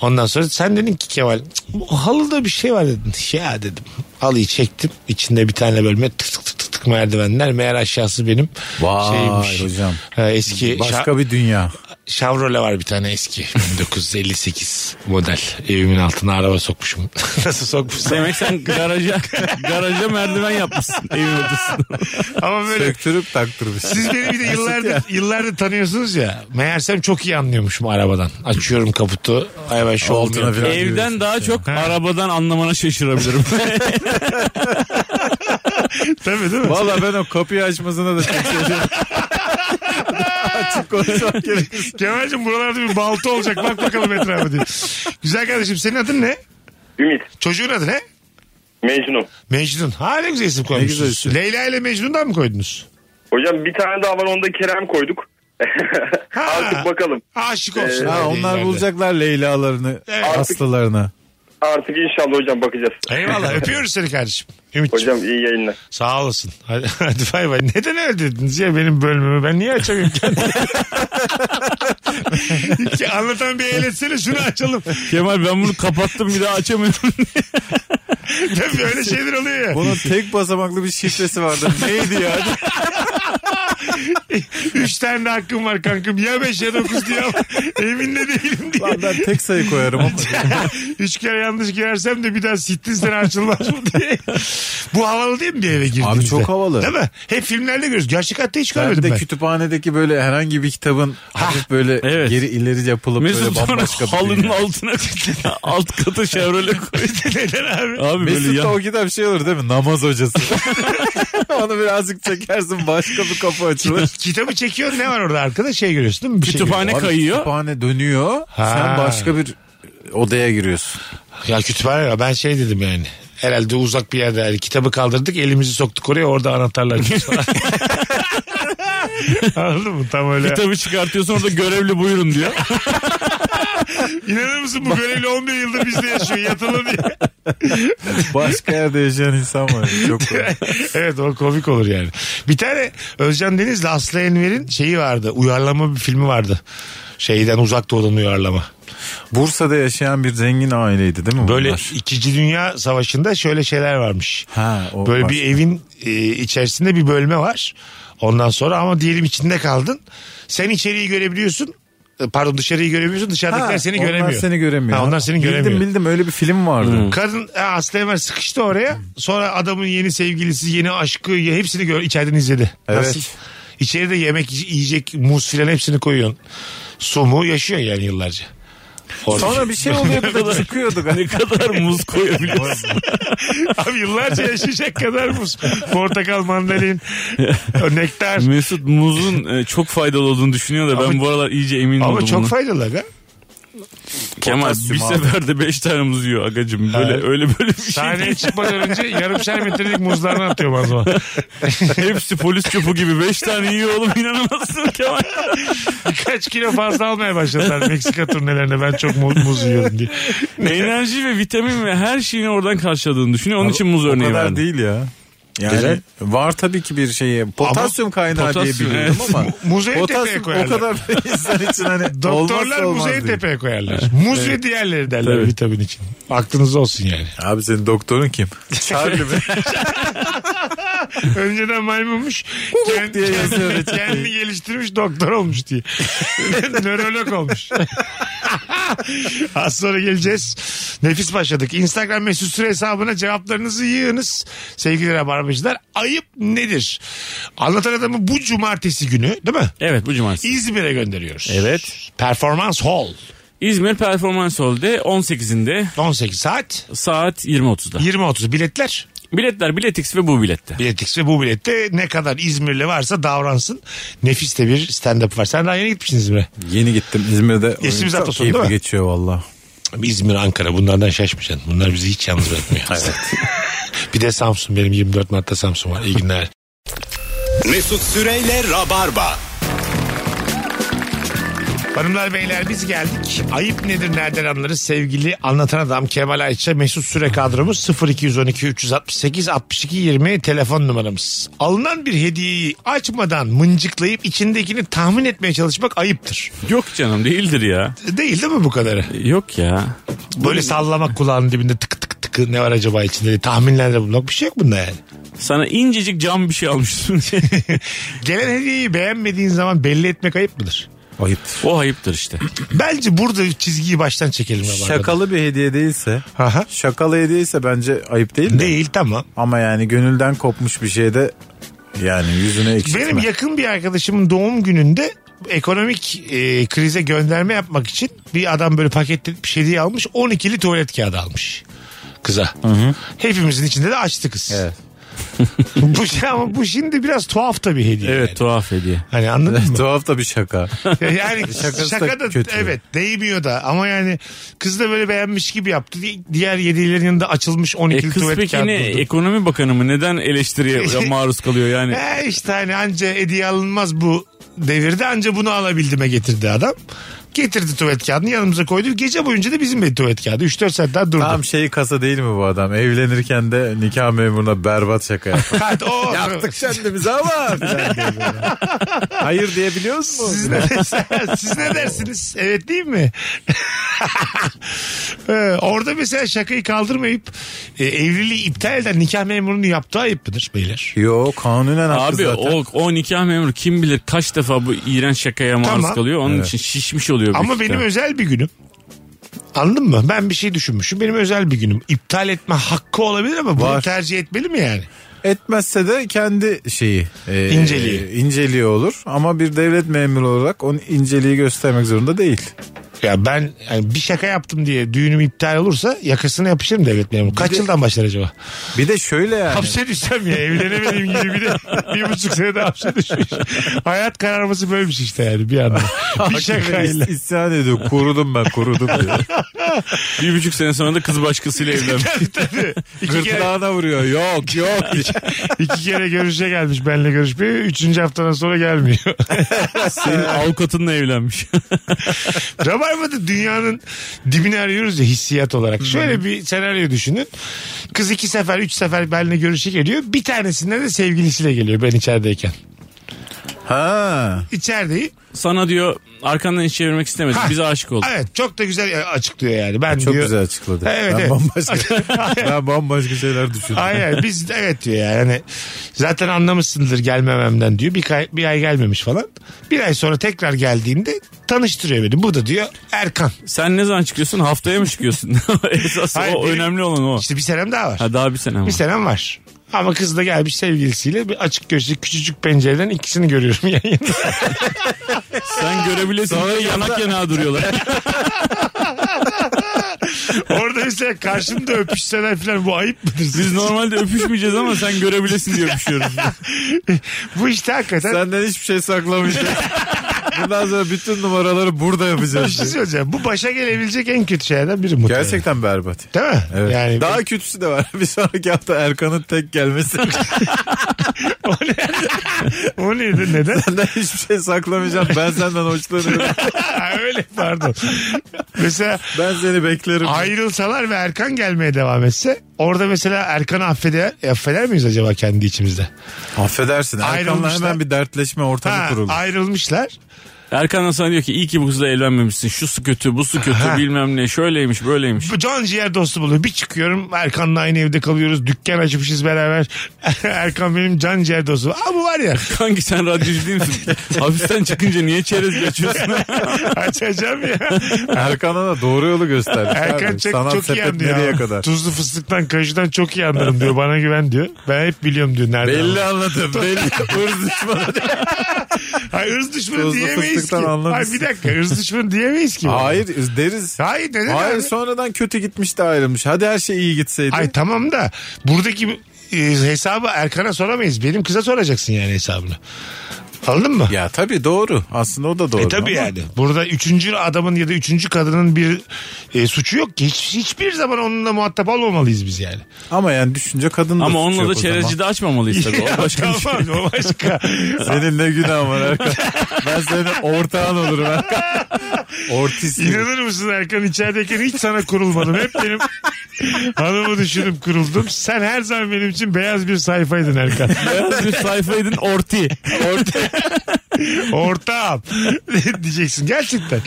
[SPEAKER 3] Ondan sonra sen dedin ki Kemal "Cık, bu halıda bir şey var dedin. Ya dedim. Halıyı çektim. İçinde bir tane bölme tık tık tık tık tık merdivenler. Meğer aşağısı benim
[SPEAKER 4] Vay hocam.
[SPEAKER 3] Ha, eski şa-
[SPEAKER 4] Başka bir dünya.
[SPEAKER 3] Chevrolet var bir tane eski 1958 model evimin altına araba sokmuşum. Nasıl sokmuşum?
[SPEAKER 5] Demek sen garaja, garaja merdiven yapmışsın evin odasına.
[SPEAKER 3] Ama böyle
[SPEAKER 4] Söktürüp taktırmış.
[SPEAKER 3] siz beni bir de yıllardır, yıllardır tanıyorsunuz ya. Meğersem çok iyi anlıyormuşum arabadan. Açıyorum kaputu. Hayvan şu
[SPEAKER 4] Altına
[SPEAKER 3] altına
[SPEAKER 4] falan.
[SPEAKER 5] Evden daha çok
[SPEAKER 3] Ha.
[SPEAKER 5] arabadan anlamana şaşırabilirim.
[SPEAKER 3] Tabii değil mi?
[SPEAKER 4] Valla ben o kapıyı açmasına da çok şaşırdım. Açık konuşmak gerek.
[SPEAKER 3] Kemal'cim buralarda bir balta olacak. Bak bakalım etrafı diye. Güzel kardeşim senin adın ne?
[SPEAKER 7] Ümit,
[SPEAKER 3] Çocuğun adı ne?
[SPEAKER 7] Mecnun.
[SPEAKER 3] Mecnun. Ha ne güzel isim
[SPEAKER 4] güzel
[SPEAKER 3] koymuşsunuz.
[SPEAKER 4] isim.
[SPEAKER 3] Leyla ile Mecnun'dan mı koydunuz?
[SPEAKER 7] Hocam bir tane daha var onu da Kerem koyduk. Artık bakalım.
[SPEAKER 3] Aşık olsun.
[SPEAKER 7] Ee,
[SPEAKER 4] Ha,
[SPEAKER 3] Leyla
[SPEAKER 4] onlar
[SPEAKER 3] ileride.
[SPEAKER 4] bulacaklar Leyla'larını,
[SPEAKER 3] Evet.
[SPEAKER 4] Aslılarını.
[SPEAKER 7] Artık inşallah hocam bakacağız.
[SPEAKER 3] Eyvallah öpüyoruz seni kardeşim. Ümit'ciğim.
[SPEAKER 7] Hocam iyi yayınlar.
[SPEAKER 3] Sağ olasın. Hadi, hadi bay bay. Neden öyle dediniz ya benim bölümümü? Ben niye açamıyorum kendimi? Ki Anlatan bir el etsene şunu açalım.
[SPEAKER 5] Kemal ben bunu kapattım bir daha açamıyorum.
[SPEAKER 3] Tabii öyle şeyler oluyor ya.
[SPEAKER 4] Bunun tek basamaklı bir şifresi vardı. Neydi ya?
[SPEAKER 3] Üç tane de hakkım var kankım. Ya beş ya dokuz diye ama emin de değilim diye.
[SPEAKER 4] Lan ben tek sayı koyarım ama.
[SPEAKER 3] Üç kere yanlış girersem de bir daha sittin sene açılmaz mı diye. Bu havalı değil mi bir eve girdiğimizde?
[SPEAKER 4] çok havalı.
[SPEAKER 3] Değil mi? Hep filmlerde görüyoruz. Gerçek hayatta hiç
[SPEAKER 4] Ben
[SPEAKER 3] görmedim
[SPEAKER 4] de
[SPEAKER 3] ben.
[SPEAKER 4] kütüphanedeki böyle herhangi bir kitabın hafif böyle
[SPEAKER 5] evet.
[SPEAKER 4] geri ileri yapılıp
[SPEAKER 5] Mesut
[SPEAKER 4] böyle
[SPEAKER 5] sonra
[SPEAKER 4] bambaşka bir
[SPEAKER 5] halının
[SPEAKER 4] dünya.
[SPEAKER 5] altına alt katı Chevrolet koydu.
[SPEAKER 3] Neden abi?
[SPEAKER 5] Abi
[SPEAKER 4] Mesut
[SPEAKER 5] böyle
[SPEAKER 4] da
[SPEAKER 5] ya.
[SPEAKER 4] o kitap şey olur değil mi? Namaz hocası. Onu birazcık çekersin başka bir kapı açılır.
[SPEAKER 3] Kitabı çekiyor ne var orada arkada şey görüyorsun değil mi? Bir şey
[SPEAKER 5] Kütüphane
[SPEAKER 4] Abi
[SPEAKER 5] kayıyor.
[SPEAKER 4] Kütüphane dönüyor. Sen başka bir odaya giriyorsun.
[SPEAKER 3] Ya kütüphane ya ben şey dedim yani. Herhalde uzak bir yerde yani kitabı kaldırdık elimizi soktuk oraya orada anahtarlar. Anladın mı? Tam öyle.
[SPEAKER 5] Kitabı çıkartıyorsun orada görevli buyurun diyor.
[SPEAKER 3] İnanır mısın bu görevli 11 yıldır bizde yaşıyor yatılı diye.
[SPEAKER 4] Başka yerde yaşayan insan var. Çok
[SPEAKER 3] evet o komik olur yani. Bir tane Özcan Deniz'le Aslı Enver'in şeyi vardı. Uyarlama bir filmi vardı. Şeyden uzak doğudan uyarlama.
[SPEAKER 4] Bursa'da yaşayan bir zengin aileydi değil mi?
[SPEAKER 3] Böyle
[SPEAKER 4] bunlar?
[SPEAKER 3] İkinci Dünya Savaşı'nda şöyle şeyler varmış.
[SPEAKER 4] Ha, o
[SPEAKER 3] Böyle
[SPEAKER 4] var.
[SPEAKER 3] bir evin e, içerisinde bir bölme var. Ondan sonra ama diyelim içinde kaldın. Sen içeriği görebiliyorsun. E, Pardon dışarıyı görebiliyorsun. Dışarıdakiler
[SPEAKER 4] Ha,
[SPEAKER 3] seni
[SPEAKER 4] onlar
[SPEAKER 3] göremiyor.
[SPEAKER 4] seni göremiyor.
[SPEAKER 3] Ha, onlar seni
[SPEAKER 4] bildim,
[SPEAKER 3] göremiyor.
[SPEAKER 4] Bildim öyle bir film vardı.
[SPEAKER 3] Kadın e, Aslı Enver sıkıştı oraya. Sonra adamın yeni sevgilisi, yeni aşkı hepsini gör, içeriden izledi.
[SPEAKER 4] Evet.
[SPEAKER 3] İçeride yemek yiyecek, muz filan hepsini koyuyorsun. Su mu yaşıyor yani yıllarca.
[SPEAKER 4] Sonra Hani bir şey oluyordu da çıkıyordu.
[SPEAKER 5] ne kadar muz koyabiliyorsun.
[SPEAKER 3] Abi yıllarca yaşayacak kadar muz. Portakal, mandalin, nektar.
[SPEAKER 5] Mesut muzun e, çok faydalı olduğunu düşünüyor da ben
[SPEAKER 3] Ama-
[SPEAKER 5] bu aralar iyice emin oldum.
[SPEAKER 3] Ama çok
[SPEAKER 5] buna.
[SPEAKER 3] faydalı aga.
[SPEAKER 5] Kemal bir
[SPEAKER 4] Potasyum abi.
[SPEAKER 5] seferde 5 tane muz yiyor agacım. Böyle öyle böyle bir şey.
[SPEAKER 3] Sahneye çıkmadan önce yarımşar metrelik muzlarını atıyorum az zaman.
[SPEAKER 5] Hepsi polis çöpü gibi 5 tane yiyor oğlum inanamazsın Kemal.
[SPEAKER 3] Birkaç kilo fazla almaya başladılar Meksika turnelerinde ben çok muz, muz yiyorum diye.
[SPEAKER 5] Enerji ve vitamin ve her şeyini oradan karşıladığını düşünüyor. Onun için muz
[SPEAKER 4] O
[SPEAKER 5] örneği
[SPEAKER 4] kadar
[SPEAKER 5] verdim.
[SPEAKER 4] değil ya. Yani
[SPEAKER 3] Güzel.
[SPEAKER 4] var tabii ki bir şey. Potasyum kaynağı
[SPEAKER 5] Potasyum,
[SPEAKER 4] diye biliyorum
[SPEAKER 5] evet.
[SPEAKER 4] ama.
[SPEAKER 3] Muzu en tepeye
[SPEAKER 4] Potasyum o
[SPEAKER 3] koyarlar.
[SPEAKER 4] kadar insan için hani
[SPEAKER 3] Doktorlar
[SPEAKER 4] olmazsa olmaz
[SPEAKER 3] muzu en
[SPEAKER 4] değil.
[SPEAKER 3] tepeye koyarlar. Muz ve diğerleri derler
[SPEAKER 5] Tabii.
[SPEAKER 3] vitamin için. Aklınızda olsun yani.
[SPEAKER 4] Abi senin doktorun kim? Charlie mi?
[SPEAKER 3] Önceden maymunmuş. kendi,
[SPEAKER 4] diye yazıyor
[SPEAKER 3] kendi, kendini geliştirmiş doktor olmuş diye. Nörolog olmuş. Az sonra geleceğiz. Nefis başladık. Instagram mesut süre hesabına cevaplarınızı yığınız. Sevgili rabarbacılar ayıp nedir? Anlatan adamı bu cumartesi günü değil mi?
[SPEAKER 5] Evet bu cumartesi.
[SPEAKER 3] İzmir'e gönderiyoruz.
[SPEAKER 5] Evet.
[SPEAKER 3] Performans Hall.
[SPEAKER 5] İzmir Performans Hall'de 18'inde
[SPEAKER 3] 18 saat
[SPEAKER 5] saat 20.30'da.
[SPEAKER 3] 20.30 biletler.
[SPEAKER 5] Biletler Biletix ve bu bilette.
[SPEAKER 3] Biletix ve bu bilette ne kadar İzmirli varsa davransın. Nefis de bir stand-up var. Sen daha yeni gitmişsin İzmir'e.
[SPEAKER 4] Yeni gittim İzmir'de.
[SPEAKER 3] Geçtiğimiz
[SPEAKER 4] Çok
[SPEAKER 3] hafta sonu
[SPEAKER 4] keyifli
[SPEAKER 3] değil mi?
[SPEAKER 4] geçiyor valla.
[SPEAKER 3] İzmir, Ankara bunlardan şaşmayacaksın. Bunlar bizi hiç yalnız bırakmıyor. bir de Samsun benim 24 Mart'ta Samsun var. İyi günler.
[SPEAKER 2] Mesut Süreyle Rabarba.
[SPEAKER 3] Hanımlar beyler biz geldik. Ayıp nedir nereden anlarız sevgili anlatan adam Kemal Ayça Mesut Süre kadromuz 0212 368 62 20 telefon numaramız. Alınan bir hediyeyi açmadan mıncıklayıp içindekini tahmin etmeye çalışmak ayıptır.
[SPEAKER 5] Yok canım değildir ya.
[SPEAKER 3] Değil değil mi bu kadarı?
[SPEAKER 5] Yok ya.
[SPEAKER 3] Böyle sallamak kulağının dibinde tık tık tık ne var acaba içinde diye tahminlerde bulmak bir şey yok bunda yani.
[SPEAKER 5] Sana incecik cam bir şey almışsın diye.
[SPEAKER 3] Gelen hediyeyi beğenmediğin zaman belli etmek ayıp mıdır?
[SPEAKER 4] Ayıptır.
[SPEAKER 5] o ayıptır işte.
[SPEAKER 3] Bence burada çizgiyi baştan çekelim. ya bu arada.
[SPEAKER 4] Şakalı bir hediye değilse.
[SPEAKER 3] Aha.
[SPEAKER 4] Şakalı hediye ise bence ayıp değil mi?
[SPEAKER 3] Değil tamam.
[SPEAKER 4] Ama yani gönülden kopmuş bir şeyde yani yüzüne ekşitme.
[SPEAKER 3] Benim yakın bir arkadaşımın doğum gününde ekonomik e, krize gönderme yapmak için bir adam böyle paketli bir şey diye almış 12'li tuvalet kağıdı almış kıza. Hepimizin içinde de açtı kız.
[SPEAKER 4] Evet.
[SPEAKER 3] bu şey ama bu şimdi biraz tuhaf da bir hediye.
[SPEAKER 5] Evet
[SPEAKER 3] yani.
[SPEAKER 5] tuhaf hediye.
[SPEAKER 3] Hani anladın mı?
[SPEAKER 4] Tuhaf da bir şaka.
[SPEAKER 3] Yani
[SPEAKER 4] Şakası da
[SPEAKER 3] şaka da
[SPEAKER 4] kötü.
[SPEAKER 3] evet değmiyor da ama yani kız da böyle beğenmiş gibi yaptı. Di- Diğer yedilerin yanında açılmış
[SPEAKER 5] E
[SPEAKER 3] 12'li
[SPEAKER 5] kız
[SPEAKER 3] tuvalet
[SPEAKER 5] peki
[SPEAKER 3] kağıdı.
[SPEAKER 5] ne
[SPEAKER 3] buldu.
[SPEAKER 5] ekonomi bakanı mı neden eleştiriye maruz kalıyor yani?
[SPEAKER 3] He işte hani anca hediye alınmaz bu devirde anca bunu alabildime getirdi adam. Getirdi tuvalet kağıdını yanımıza koydu. Gece boyunca da bizim bir tuvalet kağıdı. 3-4 saat daha durdu.
[SPEAKER 4] Tam şeyi kasa değil mi bu adam? Evlenirken de nikah memuruna berbat şaka yaptı.
[SPEAKER 3] Kat, o,
[SPEAKER 4] Yaptık kendimizi ama. Hayır diyebiliyoruz mu?
[SPEAKER 3] Siz ne, siz ne dersiniz? Evet değil mi? Ee, Orada mesela şakayı kaldırmayıp e, evliliği iptal eden nikah memurunu yaptığı ayıp mıdır beyler?
[SPEAKER 4] Yo kanunen haklı
[SPEAKER 5] Abi
[SPEAKER 4] zaten.
[SPEAKER 5] o, o nikah memuru kim bilir kaç defa bu iğrenç şakaya maruz
[SPEAKER 3] Tamam.
[SPEAKER 5] kalıyor. Onun için şişmiş oluyor. büyük
[SPEAKER 3] Ama benim
[SPEAKER 5] ihtimal.
[SPEAKER 3] özel bir günüm. Anladın mı? Ben bir şey düşünmüşüm. Benim özel bir günüm. İptal etme hakkı olabilir ama bunu
[SPEAKER 4] Var.
[SPEAKER 3] tercih etmeli mi yani?
[SPEAKER 4] Etmezse de kendi şeyi e,
[SPEAKER 3] İnceliği.
[SPEAKER 4] e, inceliği olur ama bir devlet memuru olarak onun inceliği göstermek zorunda değil.
[SPEAKER 3] Ya ben yani bir şaka yaptım diye düğünüm iptal olursa yakasına yapışırım devlet memuru. Kaç yıldan başlar acaba?
[SPEAKER 4] Bir de şöyle yani.
[SPEAKER 3] Hapse düşsem ya evlenemediğim gibi bir de bir buçuk senede hapse düşmüş. Hayat kararması böylemiş işte yani bir anda. bir şakayla.
[SPEAKER 4] İs- İsyan ediyor. Kurudum ben kurudum diyor.
[SPEAKER 5] Bir buçuk sene sonra da kız başkasıyla evlenmiş.
[SPEAKER 3] tabii tabii. İki kere,
[SPEAKER 4] Gırtlağına vuruyor. Yok yok.
[SPEAKER 3] iki kere görüşe gelmiş benimle görüşmeye. Üçüncü haftadan sonra gelmiyor.
[SPEAKER 5] Senin avukatınla evlenmiş.
[SPEAKER 3] Rabarba'da dünyanın dibini arıyoruz ya hissiyat olarak. Şöyle bir senaryo düşünün. Kız iki sefer, üç sefer benimle görüşe geliyor. Bir tanesinde de sevgilisiyle geliyor ben içerideyken.
[SPEAKER 4] ha.
[SPEAKER 3] İçerideyim.
[SPEAKER 5] Sana diyor arkandan hiç çevirmek istemedim.
[SPEAKER 3] Ha.
[SPEAKER 5] Bize aşık olduk.
[SPEAKER 3] Evet çok da güzel açıklıyor yani. Ben
[SPEAKER 4] Çok
[SPEAKER 3] diyor,
[SPEAKER 4] güzel açıkladı.
[SPEAKER 3] Evet,
[SPEAKER 4] ben
[SPEAKER 3] evet.
[SPEAKER 4] bambaşka ben bambaşka şeyler düşündüm.
[SPEAKER 3] Aynen biz evet diyor yani. Hani zaten anlamışsındır gelmememden diyor. Bir ay, bir ay gelmemiş falan. Bir ay sonra tekrar geldiğinde tanıştırıyor beni. Bu da diyor Erkan.
[SPEAKER 5] Sen ne zaman çıkıyorsun? Haftaya mı çıkıyorsun? Esas
[SPEAKER 3] Hayır,
[SPEAKER 5] o
[SPEAKER 3] benim-
[SPEAKER 5] önemli olan o.
[SPEAKER 3] İşte bir senem daha var.
[SPEAKER 5] Ha, daha bir sene ama.
[SPEAKER 3] Bir senem var. Ama kız da gelmiş sevgilisiyle bir açık gözlü küçücük pencereden ikisini görüyorum yan yana.
[SPEAKER 5] Sen görebilirsin. diye yanak yanağa duruyorlar.
[SPEAKER 3] Orada mesela karşımda öpüşseler falan bu ayıp mıdır?
[SPEAKER 5] Biz normalde öpüşmeyeceğiz ama sen görebilesin diye öpüşüyoruz.
[SPEAKER 3] bu işte hakikaten
[SPEAKER 4] Senden hiçbir şey saklamayacağım. Bundan sonra bütün numaraları burada
[SPEAKER 3] bir şey
[SPEAKER 4] yapacağız.
[SPEAKER 3] söyleyeceğim. Bu başa gelebilecek en kötü şeylerden biri muhtemelen.
[SPEAKER 4] Gerçekten berbat.
[SPEAKER 3] Değil mi?
[SPEAKER 4] Evet.
[SPEAKER 3] Yani
[SPEAKER 4] Daha kötüsü de var. Bir sonraki hafta Erkan'ın tek gelmesi.
[SPEAKER 3] o neydi neden?
[SPEAKER 4] Senden hiçbir şey saklamayacağım. Ben senden hoşlanıyorum.
[SPEAKER 3] Ha, Öyle pardon. mesela
[SPEAKER 4] Ben seni beklerim.
[SPEAKER 3] ayrılsalar ve Erkan gelmeye devam etse orada mesela Erkan'ı affeder, affeder miyiz acaba kendi içimizde?
[SPEAKER 4] Affedersin. Erkan'la
[SPEAKER 3] Ayrılmışlar.
[SPEAKER 4] hemen bir dertleşme ortamı
[SPEAKER 3] Ha,
[SPEAKER 4] kurulur.
[SPEAKER 3] ayrılmışlar.
[SPEAKER 5] Erkan Hasan diyor ki iyi ki bu kızla evlenmemişsin. Şu su kötü, bu su kötü
[SPEAKER 3] Aha.
[SPEAKER 5] bilmem ne. Şöyleymiş, böyleymiş.
[SPEAKER 3] Bu Can ciğer dostu buluyor. Bir çıkıyorum Erkan'la aynı evde kalıyoruz. Dükkan açmışız beraber. Erkan benim can ciğer dostum. Aa bu var ya
[SPEAKER 5] Kanki sen radyocu değil misin? Hapisten çıkınca niye çerez geçiyorsun?
[SPEAKER 3] açacağım ya.
[SPEAKER 4] Erkan'a da doğru yolu göstermiş.
[SPEAKER 3] Erkan
[SPEAKER 4] abi.
[SPEAKER 3] çok,
[SPEAKER 4] Sanat
[SPEAKER 3] çok iyi
[SPEAKER 4] sepet
[SPEAKER 3] andı ya.
[SPEAKER 4] nereye kadar?
[SPEAKER 3] Tuzlu fıstıktan kajıdan çok iyi anlarım diyor. Bana güven diyor. Ben hep biliyorum diyor. Nereden
[SPEAKER 4] Belli
[SPEAKER 3] aldığını.
[SPEAKER 4] anladım. Belli. Irz düşmanı değil.
[SPEAKER 3] Hayır ırz düşmanı
[SPEAKER 4] Tuzlu
[SPEAKER 3] diyemeyiz ki.
[SPEAKER 4] fıstıktan anlamışsın.
[SPEAKER 3] Hayır bir dakika ırz düşmanı diyemeyiz ki.
[SPEAKER 4] Hayır deriz.
[SPEAKER 3] Hayır neden
[SPEAKER 4] Hayır
[SPEAKER 3] abi?
[SPEAKER 4] sonradan kötü gitmiş de ayrılmış. Hadi her şey iyi gitseydi.
[SPEAKER 3] Ay tamam da buradaki e, hesabı Erkan'a soramayız. Benim kıza soracaksın yani hesabını. Anladın mı?
[SPEAKER 4] Ya tabii doğru. Aslında o da doğru.
[SPEAKER 3] E tabii
[SPEAKER 4] ama-
[SPEAKER 3] yani. Burada üçüncü adamın ya da üçüncü kadının bir e, suçu yok ki. Hiç, hiçbir zaman onunla muhatap olmamalıyız biz yani.
[SPEAKER 4] Ama yani düşünce kadın da
[SPEAKER 5] Ama
[SPEAKER 4] suçu
[SPEAKER 5] onunla
[SPEAKER 4] yok
[SPEAKER 5] da
[SPEAKER 4] o zaman.
[SPEAKER 5] çerezci de açmamalıyız tabii. O başka bir şey.
[SPEAKER 3] tamam o başka.
[SPEAKER 4] Senin ne günahın var Erkan. ben senin ortağın olurum Erkan. Ortiz gibi.
[SPEAKER 3] İnanır mısın Erkan içerideyken hiç sana kurulmadım. Hep benim hanımı düşünüp kuruldum. Sen her zaman benim için beyaz bir sayfaydın Erkan.
[SPEAKER 5] Beyaz bir sayfaydın orti. Orti.
[SPEAKER 3] Ortağım diyeceksin gerçekten.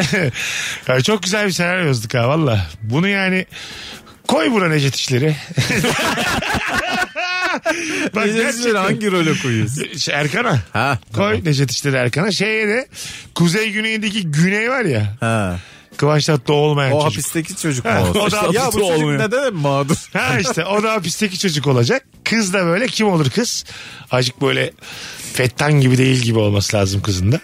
[SPEAKER 3] Ya çok güzel bir senaryo yazdık ha valla. Bunu yani koy buna Necet işleri. Bak
[SPEAKER 4] Necdet
[SPEAKER 3] gerçekten.
[SPEAKER 4] hangi role koyuyorsun?
[SPEAKER 3] Şey, Erkan'a.
[SPEAKER 4] Ha.
[SPEAKER 3] Koy Necdet işleri Erkan'a. Şeye de kuzey güneydeki güney var ya.
[SPEAKER 4] Ha.
[SPEAKER 3] Kıvanç Tatlı olmayan
[SPEAKER 4] O
[SPEAKER 3] çocuk.
[SPEAKER 4] hapisteki çocuk
[SPEAKER 3] Ha,
[SPEAKER 4] mu olsun?
[SPEAKER 3] o da
[SPEAKER 4] ya bu
[SPEAKER 5] hapiste
[SPEAKER 4] çocuk
[SPEAKER 5] olmuyor.
[SPEAKER 4] neden hep mağdur?
[SPEAKER 3] Ha işte o da hapisteki çocuk olacak. Kız da böyle kim olur kız? Acık böyle fettan gibi değil gibi olması lazım kızın da.